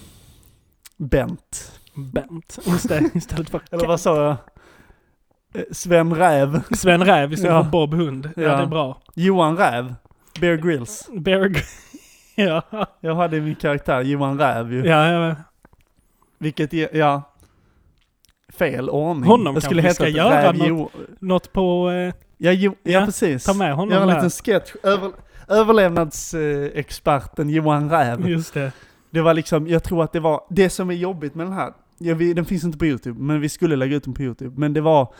Bent.
Bent. Just det, (laughs) istället för
Eller vad sa jag? Eh, Sven Räv.
Sven Räv istället
Ja.
för Bob Hund. Ja,
Ja.
det är bra.
Johan Räv. Bear Grylls.
Bear Gry- (laughs) ja.
Jag hade min karaktär Johan Räv ju.
ja, ja.
Vilket, ge- ja. Fel ordning.
Honom
jag skulle
kanske vi
heta
ska göra något.
Jo-
Något på... Eh,
Ja, jo, ja,
Ja,
precis.
ta med honom
Göra en
där.
liten sketch. Över, överlevnadsexperten Johan Räv.
(laughs) just det.
Det var liksom, jag tror att det var, det som är jobbigt med den här, ja, vi, den finns inte på YouTube, men vi skulle lägga ut den på YouTube. Men det var,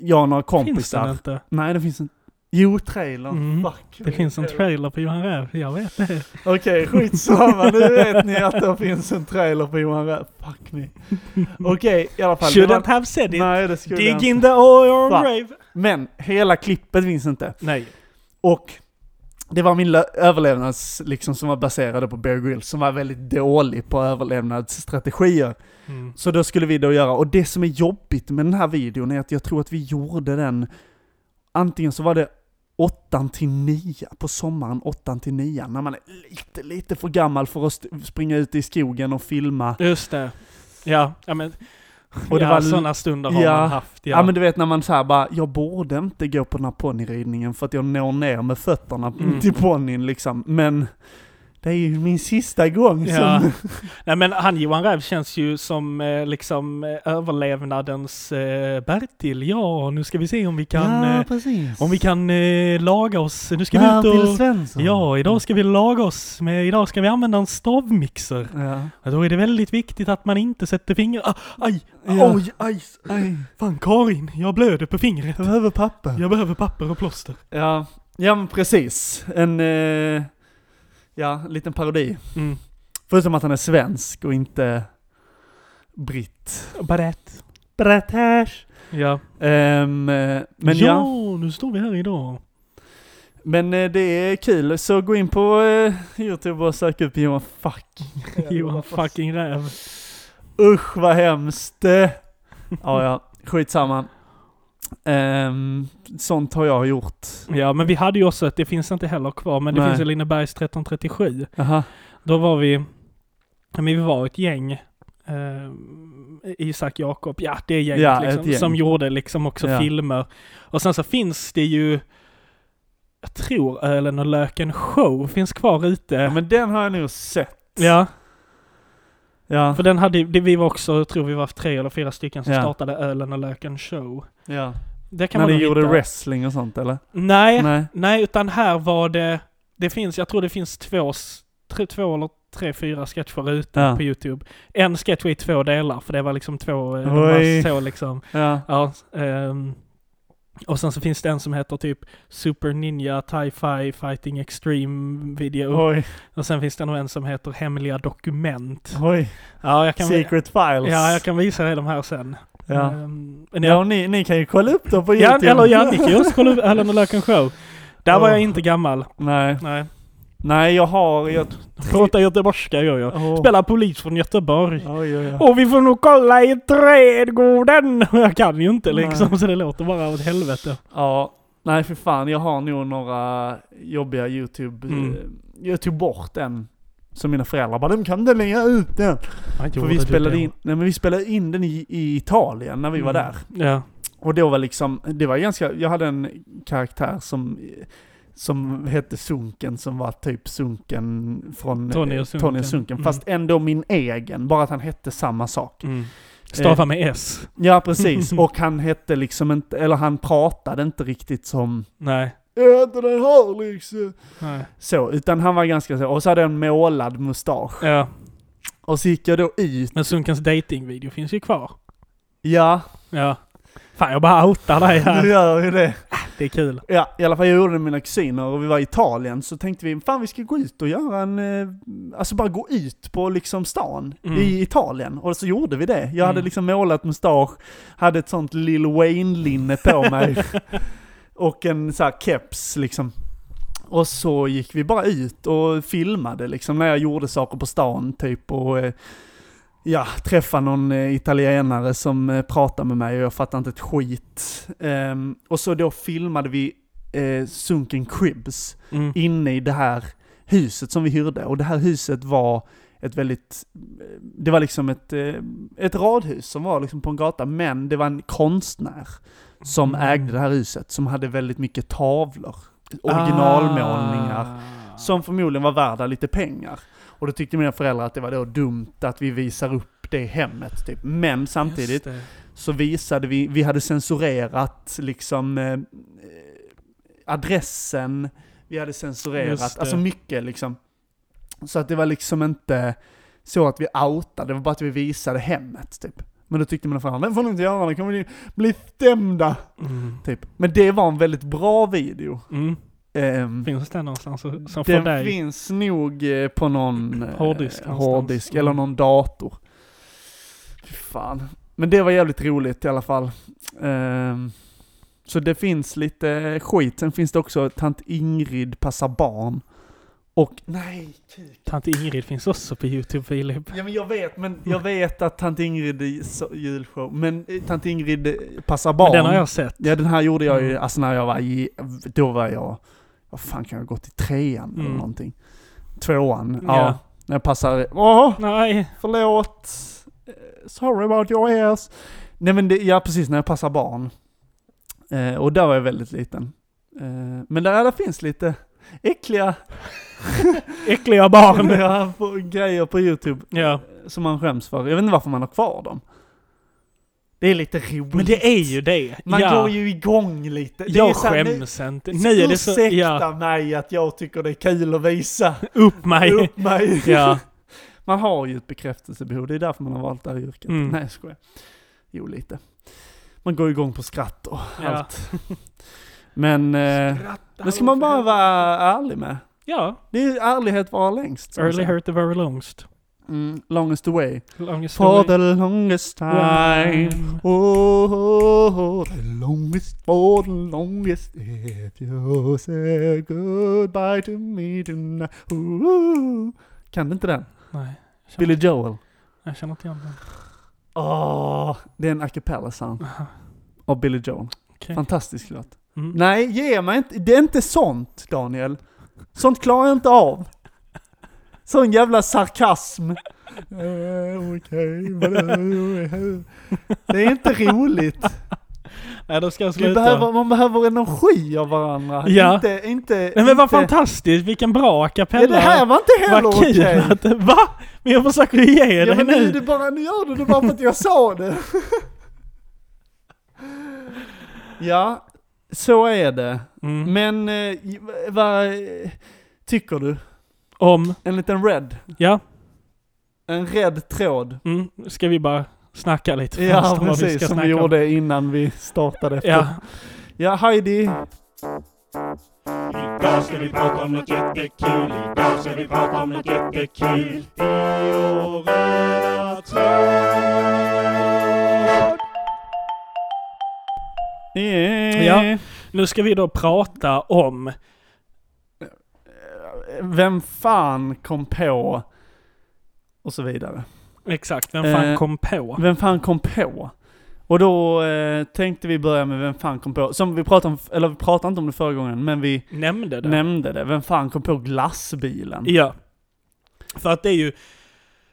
jag och några
Finns
kompisar.
den inte?
Nej, det finns en... Jo, trailern.
Mm.
Fuck.
Det finns en trailer på Johan Räv, jag vet det.
Okej, skitsamma. Nu vet ni att det finns en trailer på Johan Räv. Fuck
(laughs)
me. Okej, i alla fall. det
Shouldn't have said it.
Nej, det skulle jag
Dig
inte.
in the oil
Va?
grave.
Men hela klippet finns inte.
Nej.
Och det var min lö- överlevnads, liksom, som var baserade på Bear Grylls, som var väldigt dålig på överlevnadsstrategier.
Mm.
Så då skulle vi då göra, och det som är jobbigt med den här videon är att jag tror att vi gjorde den, antingen så var det 8 till 9 på sommaren, 8 till 9 när man är lite, lite för gammal för att st- springa ut i skogen och filma.
Just det. Ja, ja men...
Och det
ja,
var-
sådana stunder har
ja.
man haft.
Ja.
Ja.
men du vet när man såhär bara, jag borde inte gå på den här ponnyridningen för att jag når ner med fötterna
Mm.
till ponnyn liksom, men det är ju min sista gång
Ja.
som...
(laughs) Nej men han Johan Räv känns ju som eh, liksom eh, överlevnadens eh, Bertil. Ja, nu ska vi se om vi kan, eh,
precis.
om vi kan eh, laga oss. Nu ska vi
Bertil
ut och...
Svensson.
Ja, idag ska vi laga oss med, idag ska vi använda en stavmixer.
Ja.
Ja, Då är det väldigt viktigt att man inte sätter fingrar... Ah, aj!
Ja.
Oj, aj!
Aj,
Fan Karin, jag blöder
(laughs)
på fingret.
jag behöver papper.
Jag behöver papper och plåster.
Ja, ja men precis. En, eh, ja, liten parodi.
Mm.
Förutom att han är svensk och inte britt.
Barett.
British.
Ja.
Ehm, eh, men
ja,
ja,
nu står vi här idag.
men eh, det är kul. Så gå in på eh, YouTube och sök upp Johan Fuck.
Johan fucking Räv.
Usch vad hemskt. Eh, ja, ja, skitsamma. Um, sånt har jag gjort.
Ja, men vi hade ju också ett, det finns inte heller kvar, men det
Nej.
finns en Linebergs 1337.
Aha.
Då var vi, men vi var ett gäng, eh, Isak, Jakob, ja det är gänget
Ja,
liksom,
ett gäng.
som gjorde liksom också
Ja.
filmer. Och sen så finns det ju Jag tror Ölen och löken show finns kvar ute.
Ja, men den har jag nog sett.
Ja,
Ja.
för den hade ju- det vi var också, jag tror vi var tre eller fyra stycken som
Ja.
startade Ölen och löken show.
ja.
Det kan
När
man
ni
nog
gjorde
hitta.
wrestling och sånt eller?
Nej, nej,
Nej.
utan här var det, det finns, jag tror det finns två, s- tre, två eller tre, fyra sketcher ute
Ja.
på YouTube. En sketch var i två delar, för det var liksom två, eh, de
Oj.
var så liksom.
Ja.
Ja, ehm, och sen så finns det en som heter typ Super Ninja Tie-Fi Fighting Extreme Video.
Oj,
Och sen finns det nog en som heter Hemliga Dokument.
oj.
Ja, jag kan,
Secret files.
ja, jag kan visa dig de här sen.
Ja.
Ehm, men
Ja,
jag,
och ni, ni kan ju kolla upp dem på
ja,
YouTube.
eller ja,
(laughs)
ni kan ju också kolla upp Ölen och Löken Show. Där var
Åh.
jag inte gammal.
Nej.
Nej.
Nej, jag har... Jag...
Prata göteborgska gör jag.
Åh.
Spelar polis från Göteborg.
Oj, oj, oj.
Och vi får nog kolla i trädgården! (laughs) Jag kan ju inte
Nej.
liksom, så det låter bara åt helvete.
Ja. Nej, för fan. Jag har nog några jobbiga YouTube...
Mm.
eh, Jag tog bort en. Som mina föräldrar bara, de kan inte lägga ut den. För vi spelade, in, nej, men vi spelade in den i, i Italien när vi
Mm.
var där.
Ja.
Och då var liksom, det var ganska, jag hade en karaktär som, som hette Sunken, som var typ Sunken från
Tony och
eh,
Sunken.
Sunken,
Mm.
fast ändå min egen, bara att han hette samma sak. Eh,
Stava med S.
Ja,
(laughs)
precis. Och han hette liksom inte, eller han pratade inte riktigt som
Nej.
"Jag heter den här liksom.
Nej.
Så, utan han var ganska så, och så hade jag en målad mustasch.
Ja.
Och så gick jag då ut,
Men Sunkens datingvideo finns ju kvar.
(laughs) ja, Mm.
Ja. Fan, jag bara outar dig
du
här.
gör ju det.
Det är kul.
Ja, i alla fall jag gjorde det med mina kusiner och vi var i Italien så tänkte vi, fan vi ska gå ut och göra en, eh, alltså bara gå ut på liksom stan
Mm.
i Italien. Och så gjorde vi det. Jag hade
Mm.
liksom målat mustasch, hade ett sånt Lil Wayne-linne på mig och en så här keps liksom. Och så gick vi bara ut och filmade liksom när jag gjorde saker på stan typ och eh, ja, träffade någon eh, italienare som eh, pratade med mig och jag fattade inte ett skit. Ehm, och så då filmade vi eh, Sunken Cribs
Mm.
inne i det här huset som vi hyrde och det här huset var ett väldigt, eh, det var liksom ett, eh, ett radhus som var liksom på en gata men det var en konstnär som
Mm.
ägde det här huset som hade väldigt mycket tavlor, originalmålningar
Ah.
som förmodligen var värda lite pengar. Och då tyckte mina föräldrar att det var då dumt att vi visar upp det hemmet typ. Men
Just
samtidigt
det.
så visade vi, vi hade censurerat liksom eh, eh, adressen, vi hade
Just
censurerat,
det.
alltså mycket liksom. Så att det var liksom inte så att vi outade, det var bara att vi visade hemmet typ. Men då tyckte mina föräldrar, det får ni inte göra, då kommer ni bli stämda.
Mm.
Typ. Men det var en väldigt bra video.
Mm.
Ehm,
Finns det någonstans som som för
den
dig?
finns nog eh, på
(laughs)
någon eh,
Hårddisk någonstans.
hårddisk
Mm.
eller någon dator. Fy fan. Men det var jävligt roligt i alla fall. Ehm, så det finns lite skit. Sen finns det också Tant Ingrid passar barn. Och nej, kuk.
Tant Ingrid finns också på Youtube, Filip.
Ja men jag vet, men
(laughs)
jag vet att Tant Ingrid i so- julshow, men eh, Tant Ingrid eh, passar barn.
Men den har jag sett.
Ja den här gjorde jag ju,
Mm.
alltså när jag var i, då var jag, vad fan kan jag ha gått i trean eller
Mm.
någonting? Tvåan, ja.
Ja.
När jag passade, åh,
Nej.
förlåt, Eh, sorry about your ass. Nej men det, ja precis, när jag passar barn. Eh, och där var jag väldigt liten. Eh, men där, där finns lite äckliga
Äckliga barn.
(laughs) ja, på- grejer på YouTube
ja.
som man skäms för. Jag vet inte varför man har kvar dem. Det är lite roligt.
Men det är ju det.
Man
ja.
går ju igång lite. Det är
jag
så här, nu-
skäms inte. Nej, är det så...
Ursäkta
Ja.
mig att jag tycker det är kul att visa
Upp mig.
upp mig.
(laughs) ja.
(laughs) Man har ju ett bekräftelsebehov, det är därför man har valt det här yrket.
Mm.
Nej, jag skojar. Jo, lite. Man går igång på skratt och
Ja.
allt. (laughs) Men eh, det ska man bara vara ärlig med.
Ja.
Det är ju ärlighet var längst. som
Early
man säger.
hurt the very longest.
Mm, longest way.
Longest
For
away.
the longest time.
Time.
Oh, oh, oh, the longest, for the longest, if you say goodbye to me tonight. Ooh. Kan du inte den?
Nej.
Billy Joel.
Jag känner inte igen den.
Åh, det är en a cappella sound
Aha,
av Billy Joel.
okej.
Fantastisk låt.
Mm.
Nej, ge mig inte. Det är inte sånt, Daniel. Sånt klarar jag inte av. Sån jävla sarkasm. (laughs) Eh, Okej, vadå? det är inte roligt.
Nej, då ska
Vi
jag sluta.
behöver, man behöver energi av varandra.
Ja.
Inte, inte...
Nej men vad
inte-
fantastiskt, vilken bra
Ja,
a cappella.
det här var inte heller
Vad kul
okej.
att det... Va? Men jag försöker ju ge
Ja
dig
men nu,
nu.
det bara, nu gör du det bara för att jag sa
(laughs)
det. ja, så är det.
Mm.
Men eh, j- vad eh, tycker du?
Om,
En liten red?
ja,
En red tråd?
mm. ska vi bara snacka lite först
Ja
om vad vi ska
precis, som
snacka
vi
om.
gjorde innan vi startade efter.
Ja,
ja Heidi,
Idag ska vi prata om något jättekul. Idag ska vi prata om något jättekul. I vår röda tråd.
Yeah.
nu ska vi då prata om,
Vem fan kom på? Och så vidare.
exakt, vem fan
Eh,
kom på?
Vem fan kom på? Och då eh, tänkte vi börja med vem fan kom på? Som vi pratade om, eller vi pratade inte om det förra gången, men vi
Nämnde det?
nämnde det. Vem fan kom på glassbilen?
Ja. För att det är ju,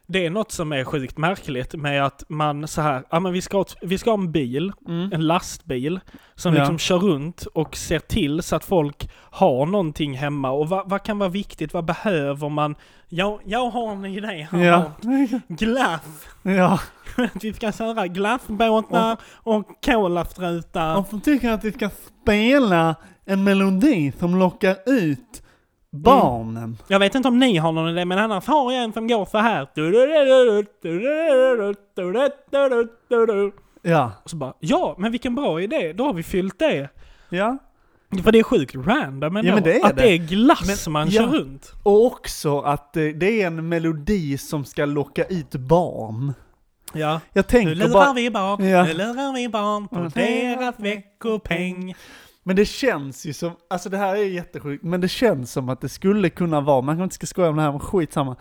det är något som är sjukt märkligt med att man så här, ja men vi ska, ha ett- vi ska ha en bil,
Mm.
en lastbil, som
Ja.
liksom kör runt och ser till så att folk har någonting hemma. Och vad, vad kan vara viktigt? Vad behöver man? Jag, jag har en idé här. (laughs)
Ja.
Glaff!
ja.
Att (laughs) vi ska köra glaffbåtar och kolastrutar.
Om de tycker att vi ska spela en melodi som lockar ut barnen.
Jag vet inte om ni har någon idé, men annars har jag en som går så här.
Ja.
Och så bara, ja, men vilken bra idé, då har vi fyllt det.
Ja.
För det är sjukt random ändå,
Ja, men det är
att
det.
det är glass
Men-
man
ja.
kör runt.
Och också att eh, det är en melodi som ska locka ut barn.
Ja.
Jag
Nu
tänker
lurar
bara...
vi barn,
Ja.
nu lurar vi barn på
Mm.
deras veckopeng.
Men det känns ju som, alltså det här är jättesjukt, men det känns som att det skulle kunna vara, man kanske inte ska skoja om det här, men skitsamma.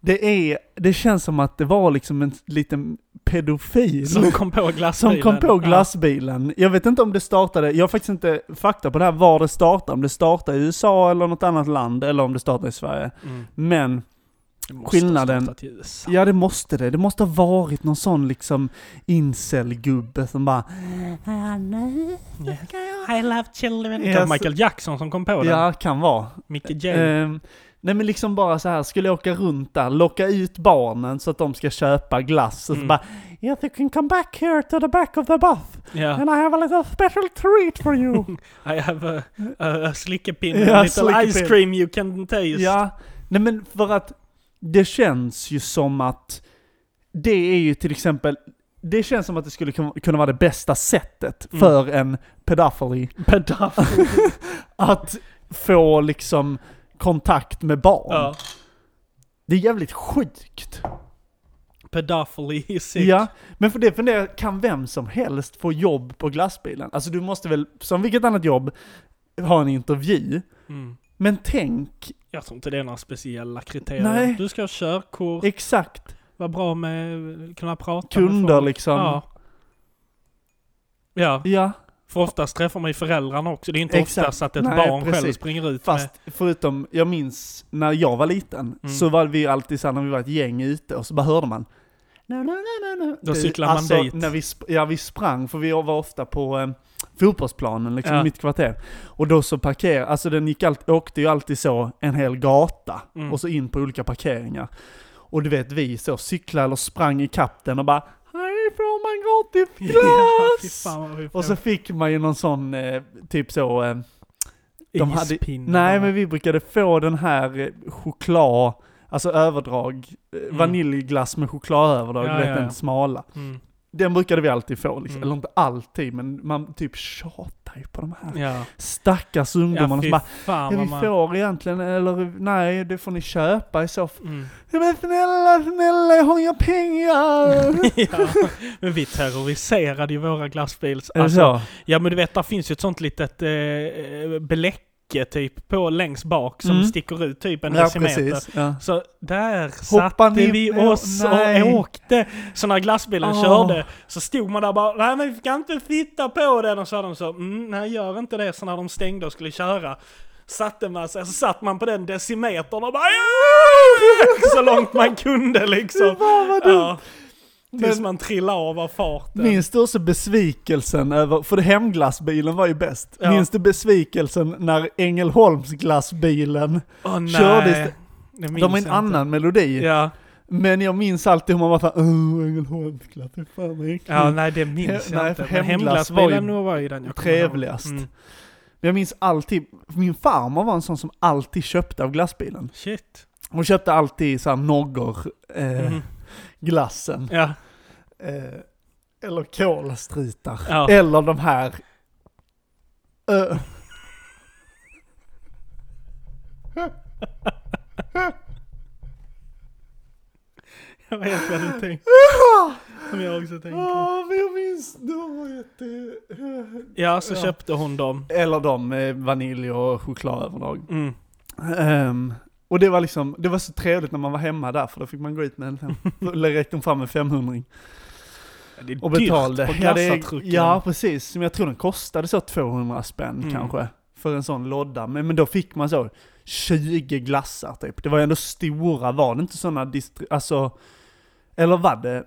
Det är, det känns som att det var liksom en liten pedofil
Som kom på
som
glassbilen.
kom på glassbilen. Jag vet inte om det startade, jag har faktiskt inte fakta på det här var det startade, om det startade i USA eller något annat land, eller om det startade i Sverige.
Ja. Mm.
Men,
Det måste ha
Skillnaden-
startat i USA.
ja det måste det, det måste ha varit någon sån liksom incel-gubbe som bara
I love children.
Yes.
Det var Michael Jackson som kom på den.
Ja, kan vara.
Mickey J.
Ehm, nej men liksom bara så här, skulle jag åka runt där, locka ut barnen så att de ska köpa glass och så
Mm.
bara Yes you can come back here to the back of the bus
ja.
and I have a little special treat for
(laughs)
you.
I have a, a, a slickepin,
Ja,
a little
slickepinn.
ice cream you can taste.
ja, nej men för att det känns ju som att det är ju till exempel det känns som att det skulle kun- kunna vara det bästa sättet
Mm.
för en
(laughs)
pedofili
Pedophile.
att få liksom kontakt med barn.
ja.
Det är jävligt sjukt.
Pedophile is sick.
Ja, men för det funderar jag, kan vem som helst få jobb på glassbilen? Alltså du måste väl, som vilket annat jobb, ha en intervju.
Mm.
Men tänk,
Jag tror inte det är några speciella kriterier.
Nej.
Du ska ha körkort,
exakt,
vara bra med, kunna prata med
kunder
folk.
liksom.
Ja.
Ja,
ja, för oftast träffar man ju föräldrarna också. Det är inte
Exakt.
oftast att ett
Nej,
barn
precis.
själv springer ut med...
fast förutom, jag minns när jag var liten,
Mm.
så var vi alltid såhär när vi var ett gäng ute och så bara hörde man No, no, no, no, no.
Då
Det-
cyklar man
alltså,
dit.
När vi, sp- ja, vi sprang, för vi var ofta på eh, fotbollsplanen, liksom
Ja.
i mitt kvarter. Och då så parkerade, alltså den gick allt, åkte ju alltid så en hel gata,
Mm.
och så in på olika parkeringar. Och du vet, vi så cyklade eller sprang i kapten och bara Härifrån man går till
(laughs) Ja, fy
glass!
fan vad vi
och så fick man ju någon sån, eh, typ så, eh, de hade-
Ispinnar.
nej men vi brukade få den här eh, choklad, alltså överdrag, eh, vaniljglass med chokladöverdrag,
Mm. Ja,
du vet
ja, ja.
den smala.
Mm.
Den brukade vi alltid få, liksom.
Mm.
eller inte alltid, men man typ tjatar ju på de här
Ja,
stackars
Mm. ja
ungdomarna
fy
som bara
fan
Ja,
vad
vi
man...
får egentligen, eller nej, det får ni köpa i så fall.
Mm.
Ja, Men snälla, snälla, jag har inga pengar!
ja. Men vi terroriserade ju våra glassbils...
Är det
(laughs) Alltså,
så?
Ja men du vet, där finns ju ett sånt litet eh, bläcke typ på längst bak som
Mm.
sticker ut typ en
Ja,
decimeter.
precis. Ja.
Så där
Hoppar
satte
ni
vi
på-
oss
Nej.
och åkte. Så när glassbilen
Åh.
körde så stod man där bara Nej men vi ska inte sitta på den och så hade de så mm, Nej gör inte det. Så när de stängde och skulle köra satte man sig, så satt man på
(laughs)
den decimetern och bara "Aah!" så långt man kunde liksom.
Fan vad dumt!
Ja. Tills man trillar av av farten.
Minns du också besvikelsen över, för hemglassbilen var ju bäst.
Ja.
Minns du besvikelsen när Ängelholmsglassbilen,
Åh, nej.
kördes-
Det
de har
minns
en
jag
annan melodi.
Inte. Ja.
Men jag minns alltid hur man var såhär, åh Ängelholmsglass, fy fan vad äckligt."
ja, nej det minns
He-
jag
Mm. nej,
inte.
för
Men
Hemglass var ju
hemglassbilen nog var ju den jag kommer ihåg. Mm.
trevligast. Men jag minns alltid, min farmor var en sån som alltid köpte av glassbilen.
Shit.
Hon köpte alltid såhär noggor, eh,
Mm.
glassen.
Ja.
Eh, eller kolstritar.
Ja.
Eller de här... eh, (laughs) Ö.
Jag vet vad du tänker. Som jag också tänker.
Åh, men jag minns, de var jätte...
Ja, så
Ja.
köpte hon dem.
Eller de med vanilj och chokladöverdrag.
Mm.
Ehm, och det var liksom, det var så trevligt när man var hemma där, för då fick man gå ut med (laughs) en, då räckte de fram en 500
Det är
och betalade.
dyrt på
Ja, det-
kassatrucken.
ja, precis. Men jag tror den kostade så 200 spänn
Mm.
kanske, för en sån låda. Men, men då fick man så 20 glassar typ. Det var ju ändå stora, var det inte sådana distri- alltså, eller var det?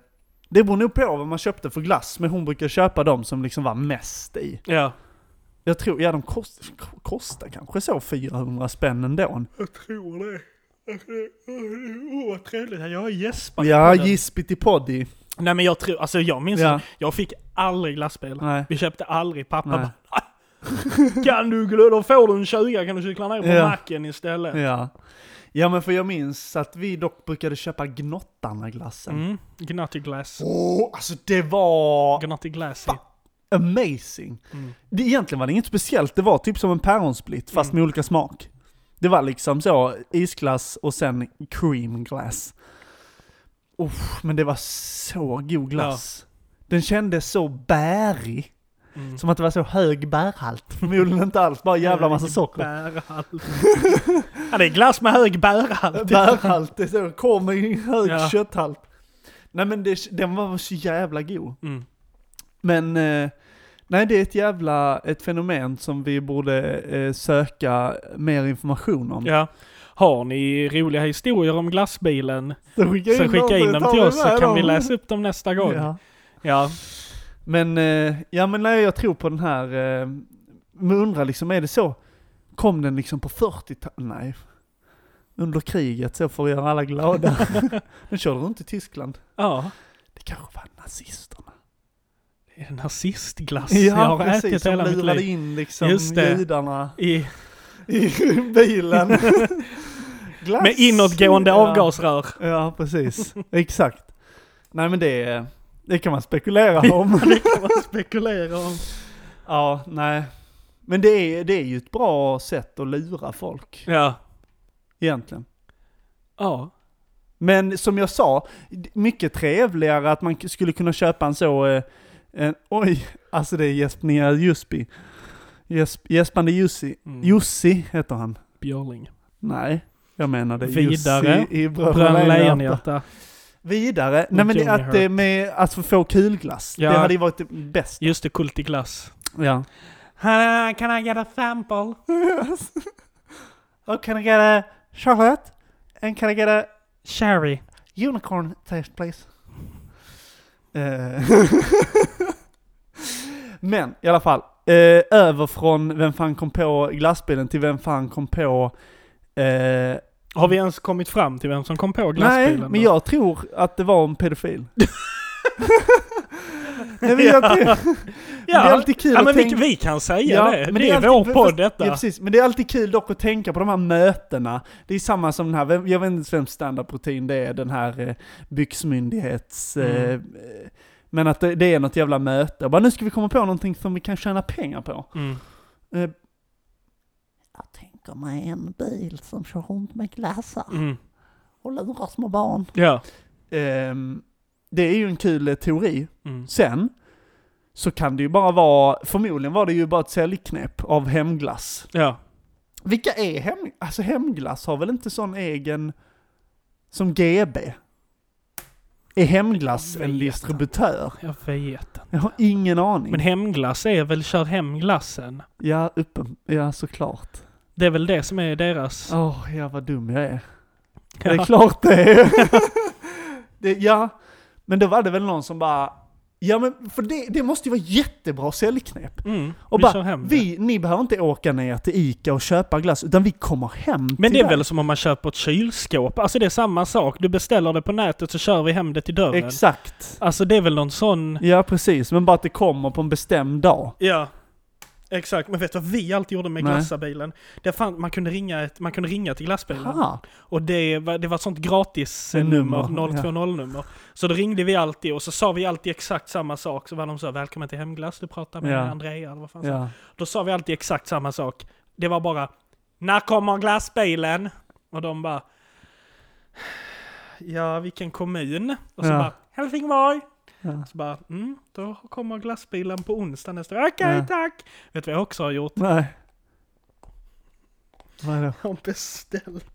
Det beror nog på vad man köpte för glass, men hon brukar köpa de som liksom var mest i.
Ja.
Jag tror, ja de kost, kostar kanske så 400 spänn ändå.
Jag tror det. Åh, vad trevligt. Jag har gäspat.
Ja, gispigt i poddi.
Nej men jag tror, alltså jag minns
Ja.
jag fick aldrig glassbilar.
Nej.
Vi köpte aldrig, pappa
Nej.
bara "Ah, Kan du glöda, då får du en 20 kan du cykla ner på
Ja.
macken istället.
Ja. Ja men för jag minns att vi dock brukade köpa Gnottarna-glassen.
Mm. Gnutty glass.
Åh, alltså det var
Gnutty glassy.
amazing.
Mm.
Det, egentligen var det inget speciellt, det var typ som en päronsplitt fast med olika smak. Det var liksom så isglass och sen cream glass. Uff, men det var så god glass. Den kändes så bärig.
Mm.
Som att det var så hög bärhalt. Förmodligen inte alls, bara jävla massa socker.
Bärhalt. (laughs) ja det är glass med hög bärhalt.
Bärhalt, det är så, kom med en hög
Ja.
kötthalt. Nej men det, den var så jävla god.
Mm.
Men eh, nej, det är ett jävla ett fenomen som vi borde eh, söka mer information om.
Ja. Har ni roliga historier om glassbilen
Så skicka
så skicka in dem
tar
till
vi
oss så
med
kan
dem.
vi läsa upp dem nästa gång. Ja.
Ja. Men, eh, ja, men nej, jag tror på den här, eh, men undrar liksom, är det så? Kom den liksom på 40-talet? Nej. Under kriget så för att göra alla glada.
(laughs)
den körde runt i Tyskland.
Ja.
Det kanske var nazisterna.
Det är nazistglass jag har ätit
som
hela mitt
lurade
liv.
in liksom
Just det.
judarna.
I,
i bilen. (laughs) Glass.
med inåtgående avgasrör.
Ja, ja precis. Exakt. Nej men det, det kan man spekulera om. (laughs)
Det kan man spekulera om.
ja, nej. Men det är, det är ju ett bra sätt att lura folk,
Ja.
egentligen.
Ja.
Men som jag sa, mycket trevligare att man k- skulle kunna köpa en så, eh, en, oj, alltså det är gäspningar Jusby. Gäsp, gäspande Jussi.
Mm.
Jussi heter han.
Björling.
Nej, jag menade
Vidare.
Jussi i
Bröderna
Bröderna Lejonhjärta.
Lejonhjärta.
Vidare, nej men det,
Johnny
att det
Hurt.
med att få- få kulglass,
Ja.
det hade ju varit det bästa.
Just det, Kultiglass.
Ja.
Can I get a sample?
Oh, can I get a chocolate? And can I get a
Sherry.
unicorn taste please? Eh. (laughs) men i alla fall, eh, över från vem fan kom på glassbilen till vem fan kom på eh,
Har vi ens kommit fram till vem som kom på glassbilen?
Nej, men
då?
jag tror att det var en
(laughs)
pedofil. Nej, men jag tror,
Ja,
det är alltid kul
ja,
att
men vi,
tänka-
vi kan säga det. det är, vår
alltid-
podd detta.
Ja, precis. Men det är alltid kul dock att tänka på de här mötena. Det är samma som den här, vem- jag vet inte ens vem standardprotein det är, den här eh, byxmyndighets... Eh,
Mm.
eh, men att det, det är något jävla möte. Och bara nu ska vi komma på någonting som vi kan tjäna pengar på.
Mm.
Eh,
Jag tänker mig en bil som kör runt med glassar
Mm.
och lurar små barn.
Ja.
ehm, det är ju en kul eh, teori.
Mm.
Sen så kan det ju bara vara, förmodligen var det ju bara ett säljknep av hemglass.
Ja.
Vilka är hem, alltså hemglass har väl inte sån egen som GB? Är hemglass
Jag vet
en distributör?
Jag vet inte.
Jag har ingen aning.
Men hemglass är väl kör hem glassen?
ja, uppen, ja, såklart.
Det är väl det som är deras...
Åh, ja vad dum jag är.
Ja.
(laughs) Det är klart det är. det, ja, Men då var det väl någon som bara, ja men för det, det måste ju vara jättebra säljknep.
Mm,
Och
vi kör
bara,
hem det.
vi, ni behöver inte åka ner till Ica och köpa glass, utan vi kommer hem
Men
till
det är
dig.
väl som om man köper ett kylskåp? Alltså det är samma sak. Du beställer det på nätet så kör vi hem det till dörren.
Exakt.
Alltså det är väl någon sån...
Ja precis, men bara att det kommer på en bestämd dag.
Ja. Exakt, men vet du vad vi alltid gjorde med
Nej.
glassabilen? Det fan, man, kunde ringa, ett- man kunde ringa till glassbilen.
Aha.
Och det var, det var ett sånt gratisnummer,
Nummer,
020-nummer. Så då ringde vi alltid och så sa vi alltid exakt samma sak. Så var de så välkommen till Hemglass, du pratar med
Ja.
Andrea eller vad fan sa
Ja.
Då sa vi alltid exakt samma sak. Det var bara När kommer glassbilen? Och de bara Ja, vilken kommun? Och så
Ja.
bara Helsingborg!
Ja.
Så bara, mm, då kommer glassbilen på onsdag nästa Okej,
Ja.
tack! Vet du vad jag också har gjort?
Nej. Vad är det?
Jag har beställt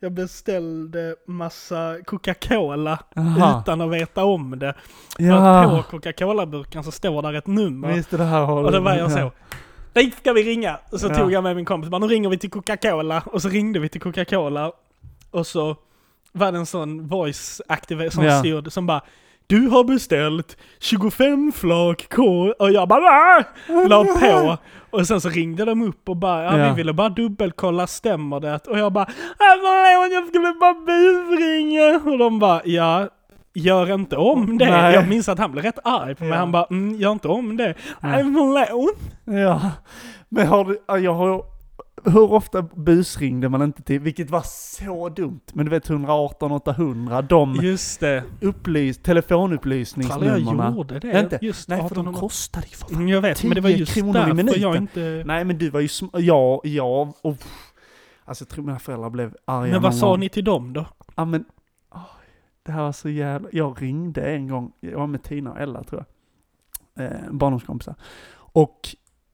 Jag beställde massa Coca-Cola
Aha.
utan att veta om det. För att
Ja,
på Coca-Cola-burken så står där ett nummer.
visst det här har
Och
du-
då var jag så.
Ja.
Dit ska vi ringa! Och så
Ja.
tog jag med min kompis bara, nu ringer vi till Coca-Cola. Och så ringde vi till Coca-Cola. Och så var det en sån voice activated som
Ja.
styrd som bara Du har beställt 25 flak K och jag bara "Va?" la på. Och sen så ringde de upp och bara ja,
Ja.
vi ville bara dubbelkolla, stämmer det? Och jag bara "Ah, förlåt jag skulle bara busringa. Och de bara ja, gör inte om det.
Nej.
Jag minns att han blev rätt arg på mig.
Ja.
Han bara mm, gör inte om det. Nej förlåt.
Ja, men har du, ja, jag har, hur ofta busringde man inte till, vilket var så dumt, men du vet 118 800, de
Just det.
upplys,
Fan, Mm. jag
telefonupplysningarna.
gjorde det.
Inte.
Just
Nej, för
18
de kostade ju för fan.
Mm, Jag vet, men det var
10
just
kronor i
därför
minuten.
jag inte...
Nej men du var ju sm- ja, ja, och pff. Alltså jag tror mina föräldrar blev arga
Men vad
någon
sa
gång.
ni till dem då?
Ja men, oj, det här var så jävla... Jag ringde en gång, jag var med Tina och Ella tror jag, eh, barndomskompisar. Och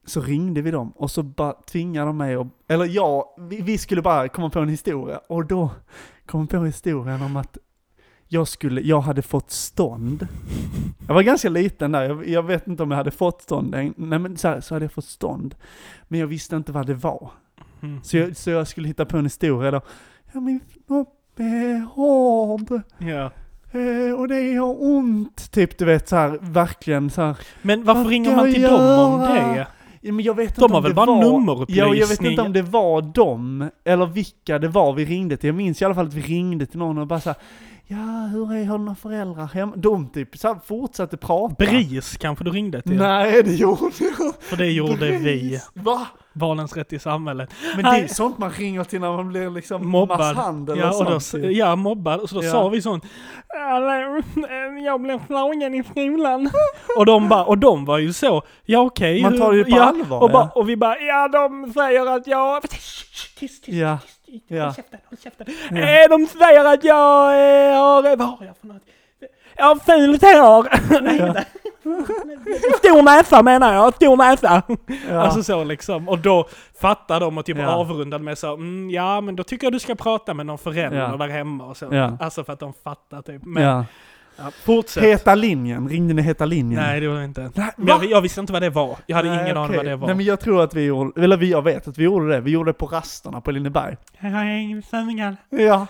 så ringde vi dem och så bara tvingade de mig att, eller jag, vi, vi skulle bara komma på en historia och då kom jag på historien om att jag skulle, jag hade fått stånd. Jag var ganska liten där, jag, jag vet inte om jag hade fått stånd än. Nej men så, här, så hade jag fått stånd. Men jag visste inte vad det var.
Mm.
Så jag, så jag skulle hitta på en historia då. Ja min snopp är hård.
Ja.
eh, Och det gör ont. Typ du vet så här, verkligen så här.
Men varför
Vad
ringer
ska
man
jag
till dem om
göra?
det?
Ja, men jag vet
De
inte
har
om
väl
det
bara
var...
nummerupplysning?
Ja, jag vet inte om det var dem. Eller vilka det var vi ringde till. Jag minns i alla fall att vi ringde till någon och bara så här. Ja, hur är, har du några föräldrar hemma? De typ så här, fortsatte prata.
BRIS kanske du ringde till?
Nej, det gjorde jag.
För det gjorde vi.
Va?
Barnens rätt i samhället.
Men det är
Nej.
sånt man ringer till när man blir liksom
Mobbad.
masshandel och
Ja, och
sånt.
då, s-
typ.
ja, mobbad. Och så då
Ja.
sa vi sånt. "Alla, eh, Jag blev slagen i skolan. Och de, bara, och de var ju så, ja okej.
Man tar det ju på
ja,
allvar,
Och, bara,
ja.
och vi bara, ja de säger att jag... Tyst, tyst,
Ja.
tyst. Håll
Ja.
käften, håll käften. Eh, De säger att jag eh, har... Vad har jag för något? Jag har fult hår. (laughs) Ja. Stor näsa menar jag, stor näsa.
Ja.
Alltså så liksom. Och då fattar de och typ
Ja.
avrundade med så mm, ja men då tycker jag du ska prata med någon förälder
Ja.
där hemma och så.
Ja.
Alltså för att de fattar typ. Men ja.
ja.
fortsätt.
Heta linjen, ringde ni Heta linjen?
Nej det gjorde jag inte.
Nej,
Men jag,
va?
jag visste inte vad det var. Jag hade
Nej,
ingen aning
okej.
vad det var.
Nej men jag tror att vi gjorde, eller vi- jag vet att vi gjorde det, vi gjorde det på rasterna på Lindeberg.
Jag är ingen sanningar.
Ja.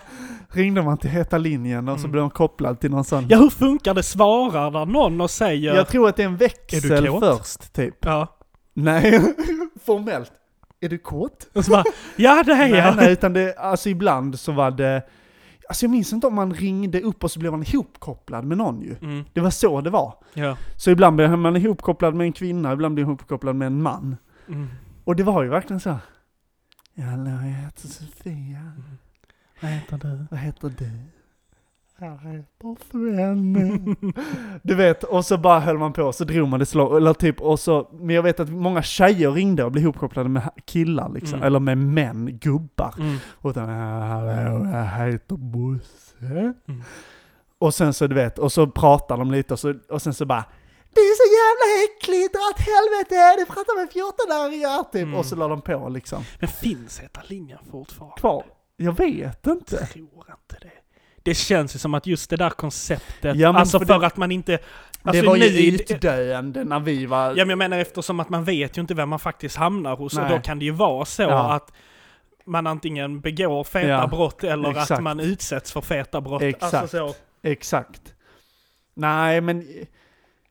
Ringde man till Heta linjen och så
Mm.
blev de kopplad till någon sån.
Ja hur funkar det? Svarar där någon och säger...
Jag tror att det är en
Är
växel
du kåt?
först typ.
ja.
Nej, (laughs) formellt. Är du kåt?
Och så bara, ja det är
Nej,
jag.
nej, utan det, alltså ibland så var det, alltså jag minns inte om man ringde upp och så blev man ihopkopplad med någon ju.
Mm,
Det var så det var.
ja.
Så ibland blev man ihopkopplad med en kvinna, ibland blev man ihopkopplad med en man.
Mm.
Och det var ju verkligen så. här, Ja, Hallå, jag heter Sofia.
Vad heter du?
Vad heter du? Jag heter Sven. (laughs) Du vet, och så bara höll man på, så drog man det slag, eller typ, och så, men jag vet att många tjejer ringde och blev ihopkopplade med killar liksom,
Mm.
eller med män, gubbar.
Mm.
Och sen, hallå, jag heter Bosse.
Mm.
Och sen så, du vet, och så pratar de lite och, så, och sen så bara det är så jävla äckligt, dra åt helvete, du pratar med 14-åringar! Typ.
Mm.
Och så la de på liksom.
Men finns Heta linjen fortfarande?
Kvar? Jag vet inte.
tror inte det. Det känns ju som att just det där konceptet,
Ja, men
alltså för,
för
att man inte... Alltså
det var
nu,
ju utdöende när vi var...
Ja men jag menar eftersom att man vet ju inte vem man faktiskt hamnar hos och
Nej.
då kan det ju vara så
Ja.
att man antingen begår feta
Ja,
brott eller att
exakt.
man utsätts för feta brott.
Exakt.
Alltså så.
Exakt. Nej, men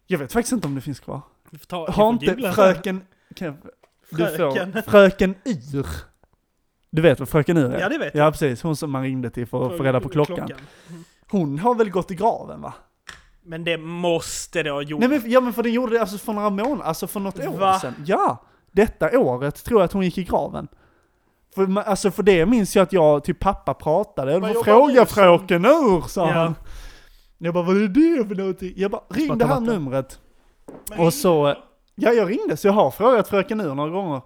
jag vet faktiskt inte om det finns kvar.
Vi får ta, vi
Har
får
inte
googla
fröken... Kan jag,
sen.
du
Fröken.
får fröken Yr. Du vet vad fröken Yr är?
Ja, det vet
Ja, precis. Hon som man ringde till för att få reda på klockan. Hon har väl gått i graven, va?
Men det måste det ha gjort.
Nej, men, ja, men för den gjorde det alltså för några månader, alltså för något år
Va?
sedan. Ja! Detta året tror jag att hon gick i graven. För, ma- alltså, för det minns jag att jag till pappa pratade. Jag bara,
jobbar
fråga
du som?"
fröken Ur, sa
Ja.
han. Jag bara, vad är det för någonting? Jag bara, ring det här
vatten.
numret. Och så, ja jag ringde så jag har frågat fröken Ur några gånger.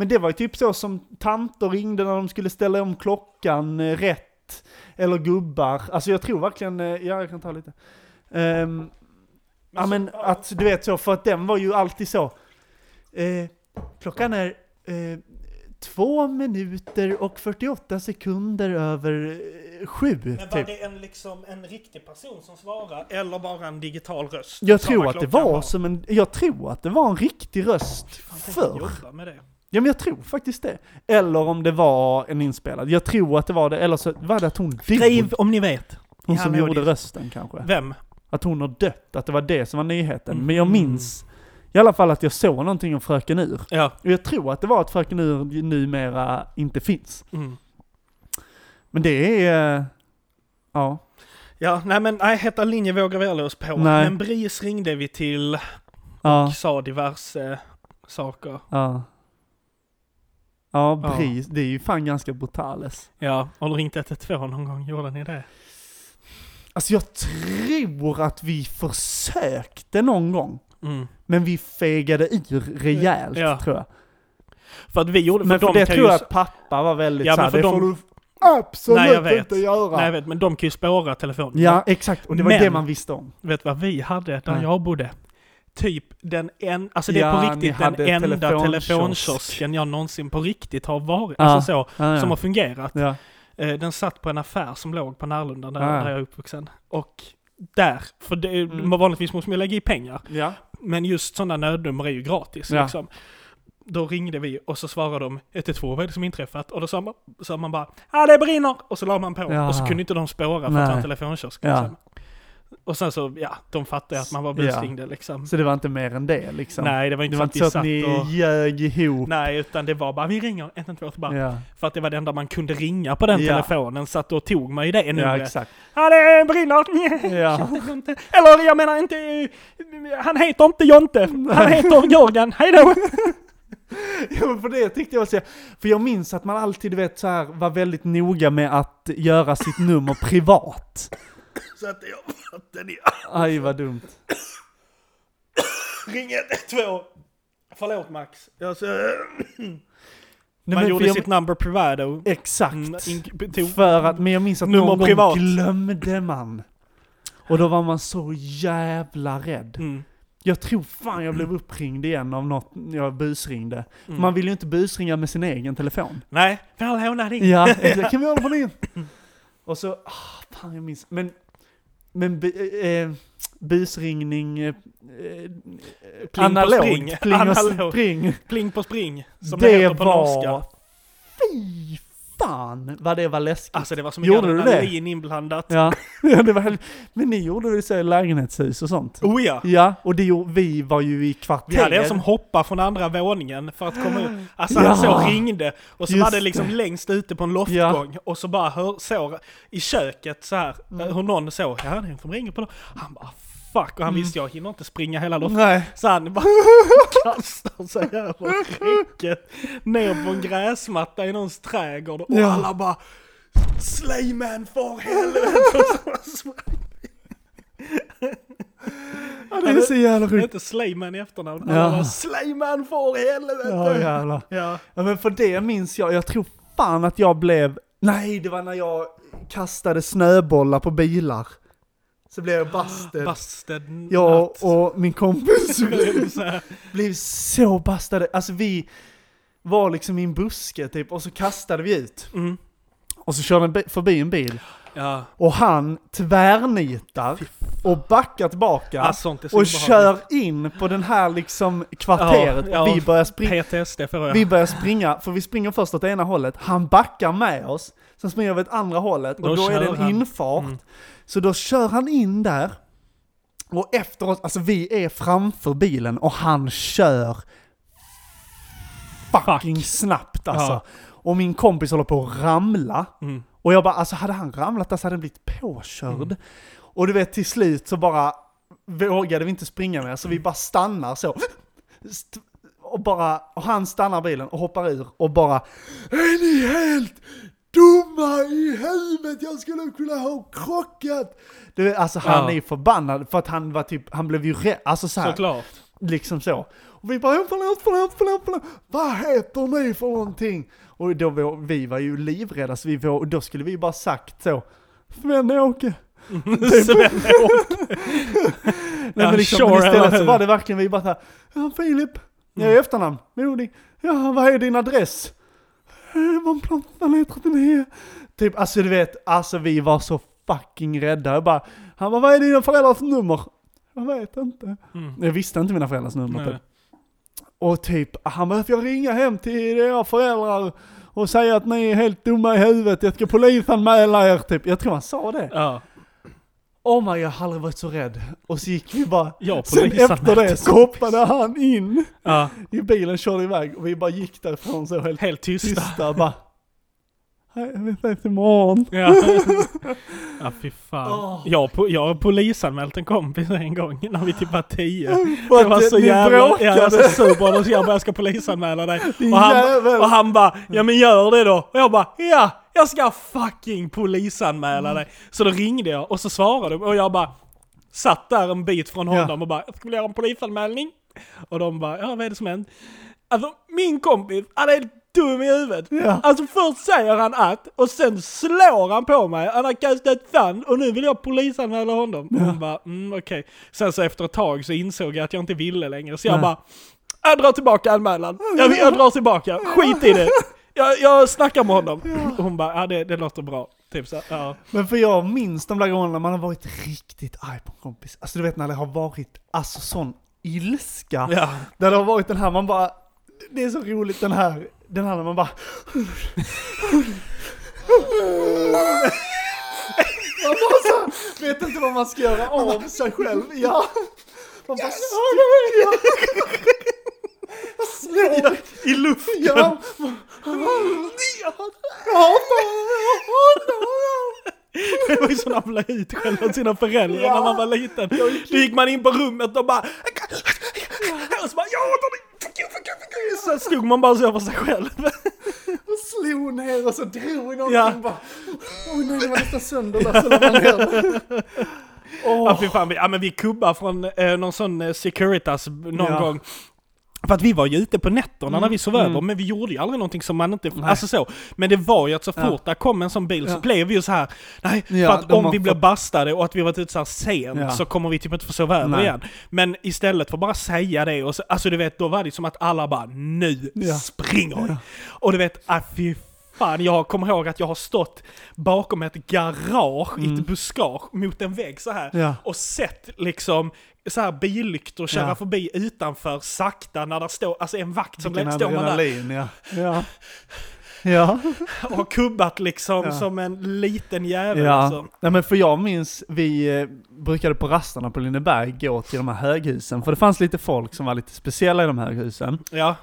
Men det var ju typ så som tanter ringde när de skulle ställa om klockan eh, rätt. Eller gubbar. Alltså jag tror verkligen, eh, ja jag kan ta lite. Ehm, ja men att du vet så, för att den var ju alltid så. Eh, klockan är eh, två minuter och 48 sekunder över eh, sju.
Men var
Typ.
det en, liksom, en riktig person som svarade eller bara en digital röst?
Jag
Sa
tror
vad
att det
klockan
var som en, jag tror att det var en riktig röst
Tänk
förr.
jobba med det.
Ja men jag tror faktiskt det. Eller om det var en inspelad. Jag tror att det var det, eller så var det att hon dog.
Skriv om ni vet.
Hon
Ja,
som
men jag
gjorde
vet.
rösten kanske.
Vem? Mm.
Att hon har dött, att det var det som var nyheten. Men jag minns i alla fall att jag såg någonting om Fröken Ur.
Ja.
Och jag tror att det var att Fröken Ur numera inte finns.
Mm.
Men det är... eh, Ja.
Ja, nej men nej, heta linje vågar vi aldrig oss på.
Nej.
Men BRIS ringde vi till och
Ja.
sa diverse saker.
Ja. Ja,
Ja.
BRIS. Det är ju fan ganska brutales.
Ja, har du ringt 112 någon gång? Gjorde ni det?
Alltså jag tror att vi försökte någon gång.
Mm.
Men vi fegade ur rejält
Ja.
tror jag.
För att vi gjorde,
Men
för
för
de
det
kan
tror jag
ju...
att pappa var väldigt
Ja,
såhär,
men för
det får
de-
du absolut
Nej, jag vet.
inte göra.
Nej, jag vet, men de kan ju spåra telefonen.
ja, exakt. Och det var
Men-
det man visste om.
Vet vad vi hade där
Nej.
jag bodde? Typ den en, alltså det är
Ja,
på
ni
riktigt den
hade
enda
telefonkiosk.
telefonkiosken jag någonsin på riktigt har varit,
Ja.
alltså så,
Ja, ja.
som har fungerat.
ja.
Eh, Den satt på en affär som låg på Närlunda där,
Ja.
där jag är uppvuxen. Och där, för det,
Mm.
vanligtvis måste man ju lägga i pengar,
ja.
men just sådana nödnummer är ju gratis
Ja.
liksom. Då ringde vi och så svarade de 112, vad är det som inträffat? Och då sa man, sa man bara ah det brinner! Och så la man på.
Ja.
Och så kunde inte de spåra för att
Nej.
det var en telefonkiosk.
Ja.
liksom. Och sen så, ja, de fattade att man var
Ja.
busringde liksom.
Så det var inte mer än det liksom.
Nej, det var inte
det
så
var
att
inte
vi
så att
satt
ni
och...
ljög ihop.
Nej, utan det var bara vi ringer 112 bara.
Ja.
För att det var det enda man kunde ringa på den
Ja.
telefonen, så att då tog man ju det
ja,
numret.
exakt.
Ja, det brinner! (laughs)
Ja.
Det går inte. Eller jag menar inte... eh, Han heter inte Jonte, han heter Jörgen, hejdå!
(laughs) Ja, men för det tyckte jag var så, för jag minns att man alltid du vet så här, var väldigt noga med att göra sitt nummer privat.
Så att jag vatten i
Aj vad dumt.
ring (laughs) 112. Förlåt Max. Jag så,
Nej,
man
men för
gjorde
jag-
sitt number privado.
Exakt.
Mm, in- betog-
För att, men jag minns att
Nummer
någon
privat.
gång glömde man. Och då var man så jävla rädd.
Mm.
Jag tror fan jag blev uppringd igen av något, jag busringde.
Mm.
Man vill ju inte busringa med sin egen telefon.
Nej, vi har lånat din. (laughs)
Ja, exakt. kan vi hålla på din? Och så, ah, fan jag minns. Men, men bu- eh, busringning, eh, eh,
på spring.
analogt, pling och
(laughs) Analogt.
spring.
Pling på spring, som det,
Det
heter på norska.
var, fy fan vad det var läskigt.
Alltså det var så mycket
Gjorde du det?
adrenalin inblandat.
Ja, (laughs) ja det var helt... Men ni gjorde det så i lägenhetshus och sånt?
Oh ja!
Ja, och det gjorde, vi var ju i
Vi
kvarter.
hade en som hoppade från andra våningen för att komma upp. Alltså
Ja.
han så ringde och så
Just
var det liksom längst ute på en loftgång och så bara hör, så i köket så här
Mm.
hur någon så ja det är en som ringer på lo-" Han bara fuck och han visste jag hinner inte springa hela loftgången.
Mm. Nej.
Så
(laughs)
han bara kastar sig över räcket ner på en gräsmatta i någons trädgård och
Ja.
alla bara Slayman
(laughs)
för helvete! Och så-
Ja, det är så jävla
Det är
sjukt.
inte Slayman i efternamn,
Ja.
alla bara Slayman för helvete!
Ja, jävlar.
Ja.
Ja, men för det minns jag. Jag tror fan att jag blev... Nej, det var när jag kastade snöbollar på bilar. Så blev jag bastad.
Busted
Jag
nut.
och min (laughs) kompis
Så här,
blev så bastade. Alltså vi var liksom i en buske typ och så kastade vi ut.
Mm.
Och så körde en bi- förbi en bil.
Ja.
Och han tvärnitar och backar tillbaka
Ah, sånt är så
och
obehagligt.
kör in på den här liksom kvarteret.
Ja, ja.
Vi, börjar springa,
PTSD får jag.
vi börjar springa, för vi springer först åt ena hållet, han backar med oss, sen springer vi åt andra hållet och
Då Mm.
då, är det
kör
en
han.
infart. Så då kör han in där, Och efter oss, alltså vi är framför bilen och han kör fucking snabbt alltså.
Ja.
Och min kompis håller på att ramla.
Mm.
Och jag bara, alltså hade han ramlat där så hade han blivit påkörd. Och du vet till slut så bara vågade vi inte springa mer så vi bara stannar så. St- Och bara, och han stannar bilen och hoppar ur och bara Är ni helt dumma i huvudet? Jag skulle kunna ha krockat! Du vet, alltså han
Ja.
är förbannad för att han var typ, han blev ju rädd, alltså så här. (laughs)
Såklart.
Liksom så. Och vi bara "Ja, förlåt, förlåt, förlåt, förlåt. Vad heter ni för någonting? Och då var, vi var ju livrädda så vi var, och då skulle vi ju bara sagt så. Svenne-Åke. Nej
Ja,
men liksom,
sure,
men istället
eller
så
hur?
var det verkligen vi bara såhär. Ja Filip. Jag
Mm.
är efternamn. Modig. Ja vad är din adress? "Eh, Vanplantan är 39. Typ alltså du vet, alltså vi var så fucking rädda. Jag bara, han bara vad är dina föräldrars nummer? Jag vet inte.
Mm.
Jag visste inte mina föräldrars nummer
Nej.
typ. Och typ, han bara, jag ringa hem till era föräldrar och säga att ni är helt dumma i huvudet, jag ska polisanmäla er typ. Jag tror han sa det.
Ja.
Oh my god, jag har aldrig varit så rädd. Och så gick vi bara,
Jag
sen
polisanmälde
efter det så hoppade han in
ja.
i bilen, körde iväg och vi bara gick därifrån så helt
Helt tysta.
tysta bara. "Hej, Vi ses imorgon.
Ja. ja, fy fan.
Åh.
Jag, po- jag har polisanmält en kompis en gång när vi typ var tio.
För
Det
att
var så
ni
jävla... Ja, jag var så
bråkade.
sur på honom så jag bara, jag ska polisanmäla dig.
Din
Och han,
jävel.
och han bara, ja men gör det då. Och jag bara, ja, jag ska fucking
Mm.
polisanmäla dig. Så då ringde jag och så svarade de och jag bara, satt där en bit från honom och bara, jag skulle göra en polisanmälning. Och de bara, ja vad är det som hänt? Alltså min kompis, han är helt dum i huvudet.
Ja.
Alltså först säger han att, och sen slår han på mig. Han har kastat sand och nu vill jag polisanmäla honom. Och hon bara, mm okej. Sen så efter ett tag så insåg jag att jag inte ville längre. Så jag
Nej.
bara, jag drar tillbaka anmälan. Jag, jag drar tillbaka, skit i (laughs) det. Jag, jag snackar med honom. Och hon bara, ja det, det låter bra. Typ så, här, ja.
Men för jag minns de där gångerna när man har varit riktigt arg på en kompis. Alltså du vet när det har varit, alltså sån ilska.
Ja.
Där det har varit den här, man bara, det är så roligt den här, den här när man bara... Man bara så, vet inte vad man ska göra av sig själv. Ja. Man bara... Slår i luften. Ja. Jag hatar honom.
Det var ju så när man blev utskälld av sina föräldrar när man var liten. Då gick man in på rummet och bara... Och så bara, jag hatar dig! Fuck you, fuck you, fuck you! Så slog man bara så över sig själv.
Och slog ner och så drog i någonting
Ja.
bara. Oj nej, det var nästan sönder där så la man ner.
Ja, fy fan, vi, ja, men vi kubbar från eh, någon sån eh, Securitas b-
Ja.
någon
Mm.
gång. För att vi var ju ute på nätterna när vi sov över, men vi gjorde ju aldrig någonting som man inte... Alltså så. Men det var ju att så fort
Ja.
där kom en sån bil så
Ja.
blev vi ju så här. nej,
Ja,
för att
de
om
har
vi blir
fått-
bastade och att vi varit ute så här sent
Ja.
så kommer vi typ inte få sova över
Nej.
igen. Men istället för att bara säga det och så, alltså du vet, då var det som att alla bara nu
Ja.
springer vi. Och du vet, ah, fy fan, jag kommer ihåg att jag har stått bakom ett garage
Mm.
i ett buskage mot en vägg så här
Ja.
och sett liksom så här billyktor köra
Ja.
förbi utanför sakta när det står, alltså en vakt som
Vilken
står man där
adrenalin ja. Ja. Ja.
och har kubbat liksom
Ja.
som en liten jävel
ja.
alltså.
Nej men för jag minns, vi eh, brukade på rasterna på Lindeberg gå till de här höghusen. För det fanns lite folk som var lite speciella i de här höghusen.
Ja.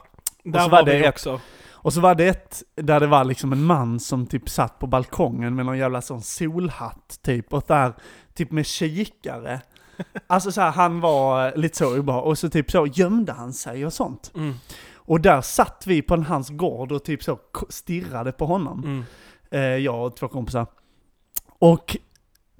Där
så
var,
var
vi
det ett-
också.
Och så var det ett där det var liksom en man som typ satt på balkongen med någon jävla sån solhatt typ. Och där, typ med kikare. Alltså så här, han var eh, lite så obehaglig. Och så typ så gömde han sig och sånt.
Mm.
Och där satt vi på en hans gård och typ så k- stirrade på honom.
Mm.
Eh, jag och två kompisar. Och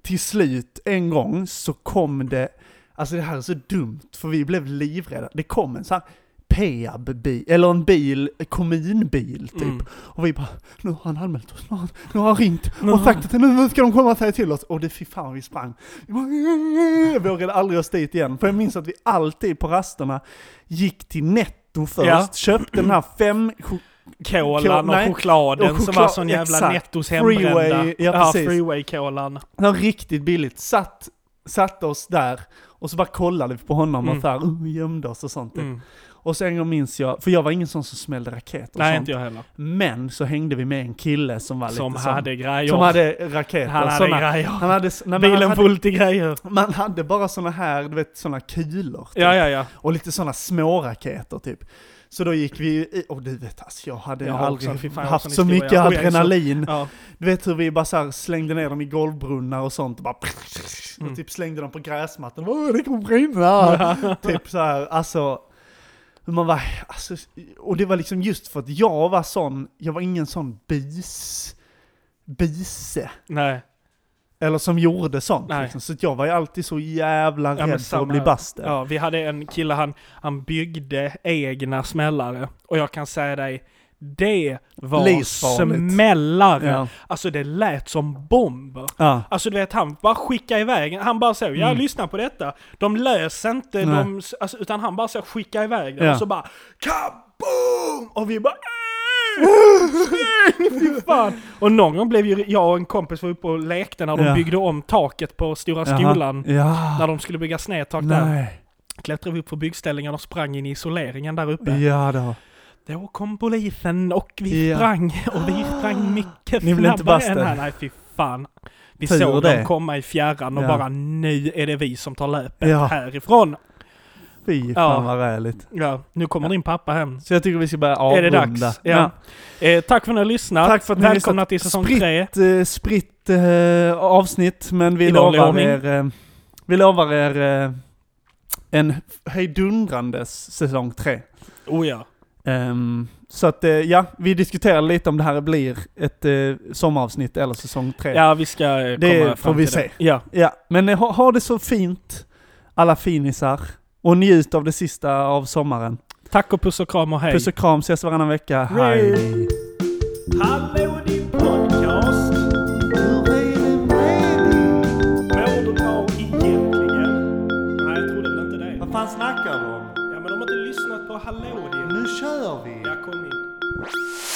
till slut en gång så kom det, alltså det här är så dumt för vi blev livrädda. Det kom en sån här Peab-bil, eller en bil, en kommunbil typ.
Mm.
Och vi bara, nu har han anmält oss, nu har han, nu har han ringt
Nu
och
har
sagt att nu ska de komma och säga till oss. Och det fy fan vi sprang. Vi bara, vågade aldrig oss dit igen. För jag minns att vi alltid på rasterna gick till Netto först,
Ja.
köpte den här fem chok-
Kolan och
Nej.
chokladen
Och
som var
choklad-
sån jävla
exakt.
nettos hembrända.
Freeway, ja, precis.
freeway-kolan.
Den var riktigt billigt. Satt satte oss där och så bara kollade vi på honom
Mm.
och så här, uh, gömde oss och sånt. typ.
Mm.
Och sen en gång minns jag, för jag var ingen sån som smällde raketer och
Nej,
sånt.
inte jag heller.
Men så hängde vi med en kille som var
Som
lite
hade grejer.
som, som hade raketer.
han hade
såna,
grejer.
han hade, s- nej, men han
Bilen
hade,
fullt i grejer.
man hade bara såna här, du vet, såna kulor. Typ.
Ja, ja, ja.
Och lite sådana små raketer typ. Så då gick vi ju i, och du vet alltså jag hade
Jag har
aldrig
också- fy fan, jag har
haft
sån
så
historia.
mycket
Och jag är så-
adrenalin.
ja.
Du vet hur vi bara så här slängde ner dem i golvbrunnar och sånt och bara (laughs)
Mm.
och typ slängde dem på gräsmattan. Åh, det kommer brinna! (laughs) typ så här, alltså. Man var, alltså, och det var liksom just för att jag var sån, jag var ingen sån bis, bise.
Nej.
Eller som gjorde sånt.
Nej.
Liksom. Så att jag var ju alltid så jävla
men
rädd för
samma
att bli
här.
basten.
Ja, vi hade en kille, han, han byggde egna smällare. Och jag kan säga dig, det var
Livsfarligt.
smällare.
Ja.
Alltså det lät som bomber.
Ja.
Alltså du vet, han bara skickade iväg en- Han bara så, ja
Mm.
lyssna på detta. De löser inte,
Nej.
de, alltså, utan han bara så skicka iväg den
Ja.
och så bara kaboom!
(laughs)
Och vi bara "Äh, släng, Fy fan! Och någon gång blev ju jag och en kompis var uppe och lekte när de
Ja.
byggde om taket på Stora skolan.
Ja.
När de skulle bygga snedtak där.
Ah. Nej.
Klättrade vi upp på byggställningen och sprang in i isoleringen där uppe.
Ja då.
Då kom polisen och vi
Ja. Ah.
sprang (laughs) och vi sprang mycket
Ni blev inte
snabbare
basten.
än han. Nej fy fan. Vi
Tur
såg
det.
dem komma i fjärran och
Ja.
bara nu är det vi som tar löpet
Ja.
härifrån.
Fy fan
Ja.
vad räligt.
Ja, nu kommer din pappa hem.
Så jag tycker vi ska börja
Är det
avrunda.
dags? Ja. Eh, tack för att ni har lyssnat.
Tack för att ni har
Välkomna
lyssnat.
till säsong
Spritt-
tre.
Ett eh, spritt eh, avsnitt, men vi
I vanlig
lovar
ordning.
er, eh, vi lovar er eh, en hejdundrandes säsong tre.
Oh ja.
Ehm, så att eh, ja, vi diskuterar lite om det här blir ett eh, sommaravsnitt eller säsong tre.
Ja, vi ska eh,
Det får
komma fram
vi
till det.
se.
Ja.
Ja, men eh, ha, ha det så fint, alla finisar. Och njut av det sista av sommaren.
Tack och puss och kram och hej.
Puss och kram, ses varannan vecka. Hej!
Hallå din podcast!
Hur är det med dig?
Mår du bra egentligen?
Nej, jag trodde väl inte det.
Vad fan snackar du om?
Ja, men de har inte lyssnat på Hallå din.
Nu kör vi!
Ja, kom in.